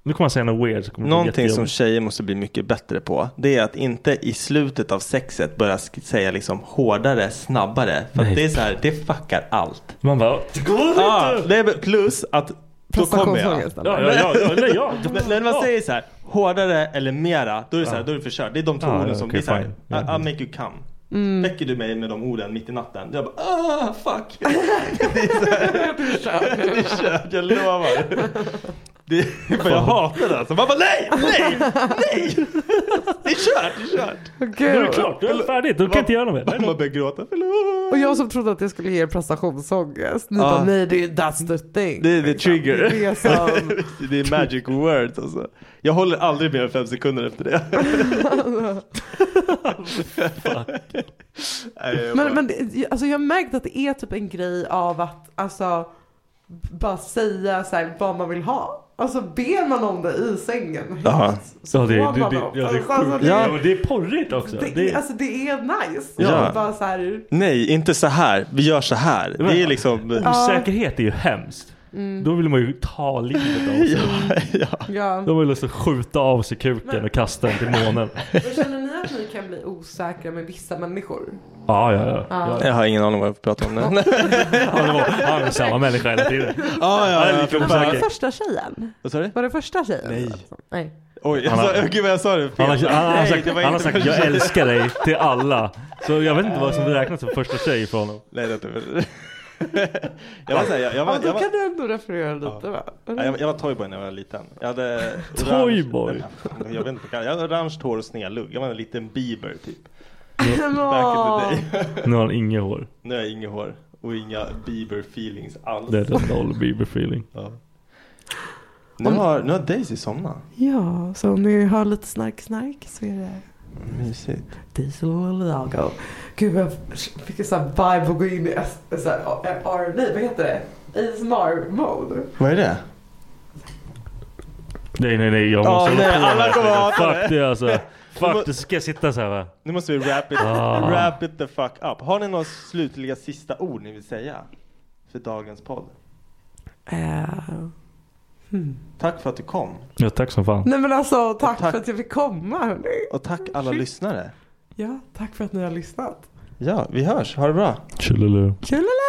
D: Nu kommer han säga något weird. Så kommer det bli
G: Någonting som
D: jättejobbigt.
G: tjejer måste bli mycket bättre på, det är att inte i slutet av sexet börja sk- säga liksom hårdare, snabbare. För att
D: Nej.
G: det är så här, det fuckar allt.
D: Man bara, Ah! det går inte!
G: Ja, nej, men plus att då kommer jag.
D: Ja, ja, ja, ja, nej, ja.
G: Men när man säger så här, hårdare eller mera, då är det så här, då är det förkört. Det är de två
D: Ja,
G: orden
D: ja,
G: som,
D: okej,
G: det är så här,
D: fine.
G: I,
D: Ja.
G: I'll make you come. Väcker du mig med de orden mitt i natten, jag bara ah fuck. det är så här, det är kört, jag lovar. Det är för jag hatar det alltså. Man bara nej, nej, nej. Det är kört, det är kört.
D: Då är det klart, då är det färdigt. Då kan jag inte göra något mer.
G: Man börjar gråta, förlåt.
E: Och jag som trodde att jag skulle ge er prestationsångest. Ni
G: Ja.
E: bara, nej det är ju that's the thing.
G: Ah. Det är the trigger.
E: Det är det som...
G: Det är magic words alltså. Jag håller aldrig mer än fem sekunder efter det. Nej, jag bara-
E: Men, men det- alltså jag har märkt att det är typ en grej av att alltså bara säga så här, vad man vill ha. Alltså ber man om det i sängen.
G: Jaha.
D: Ja, det,
E: Får
D: det,
E: man
D: det,
E: dem.
D: ja, det är
E: Alltså,
D: sjukt.
E: det-
D: Ja, men det är porrigt också.
E: Det,
D: Det,
E: alltså det är nice.
G: Ja.
E: Ja. Bara så här,
G: Nej, inte så här. Vi gör så här. Det är liksom...
D: osäkerhet är ju hemskt. Då vill man ju ta livet av sig.
E: ja.
D: Då har man ju lust att skjuta av sig kuken och kasta den till månen.
E: Men Känner ni att ni kan bli osäkra med vissa människor?
D: Ja, ja, ja. ja.
G: Jag har ingen aning vad jag pratar om nu. ja,
D: Han, var, han är samma människa hela tiden.
G: ja, ja, för
E: Var det
G: fan.
E: första tjejen?
G: Vad sa du?
E: Var det första tjejen?
G: Nej.
E: Nej.
G: Oj, jag sa, gud vad jag sa det
D: Han har,
G: fel.
D: han, har
G: Nej,
D: sagt,
G: det var
D: han har
G: inte
D: sagt
G: första
D: jag
G: tjejen.
D: älskar dig till alla. Så jag vet inte vad som räknas som första tjej för honom.
G: Nej, det är inte fel. Jag var såhär, jag, jag, var-
E: Ja,
G: jag,
E: då
G: var-
E: kan du ändå referera lite va?
G: nej, jag, jag var toyboy när jag var liten. Jag hade...
D: Toyboy?
G: Nej, men fan, Jag vet inte vad jag Jag hade orange hår och snedlugg. Jag var en liten Bieber typ.
E: Nå.
G: Back in the day.
D: Nu har han inget hår.
G: Nu har jag inget hår och inga Bieber feelings alls.
D: Det är en noll Bieber feeling.
G: Ja. Nu, har, nu har Daisy somnat.
E: Ja, så om ni har lite snark-snark så är det
G: Mysigt.
E: Diesel Lago. Gud, jag fick en sån här vibe att gå in i S- så här, R- nej, vad heter det? ASMR-mode.
G: Vad är det?
D: Nej, nej, nej. Jag måste
G: Ja,
D: hålla
G: nej,
D: på
G: alla
D: här.
G: kommer hata
D: Fuck det alltså. Fuck det. Ska jag sitta så här va?
G: Nu måste vi wrap it,
D: Ah.
G: wrap it the fuck up. Har ni några slutliga sista ord ni vill säga? För dagens podd.
E: Eh,
G: Tack för att du kom.
D: Ja, tack som fan.
E: Nej men alltså, tack,
G: Tack.
E: för att jag fick komma hörni.
G: Och tack alla lyssnare.
E: Ja, tack för att ni har lyssnat.
G: Ja, vi hörs. Ha det bra.
D: Chillaloo.
E: Tjolala!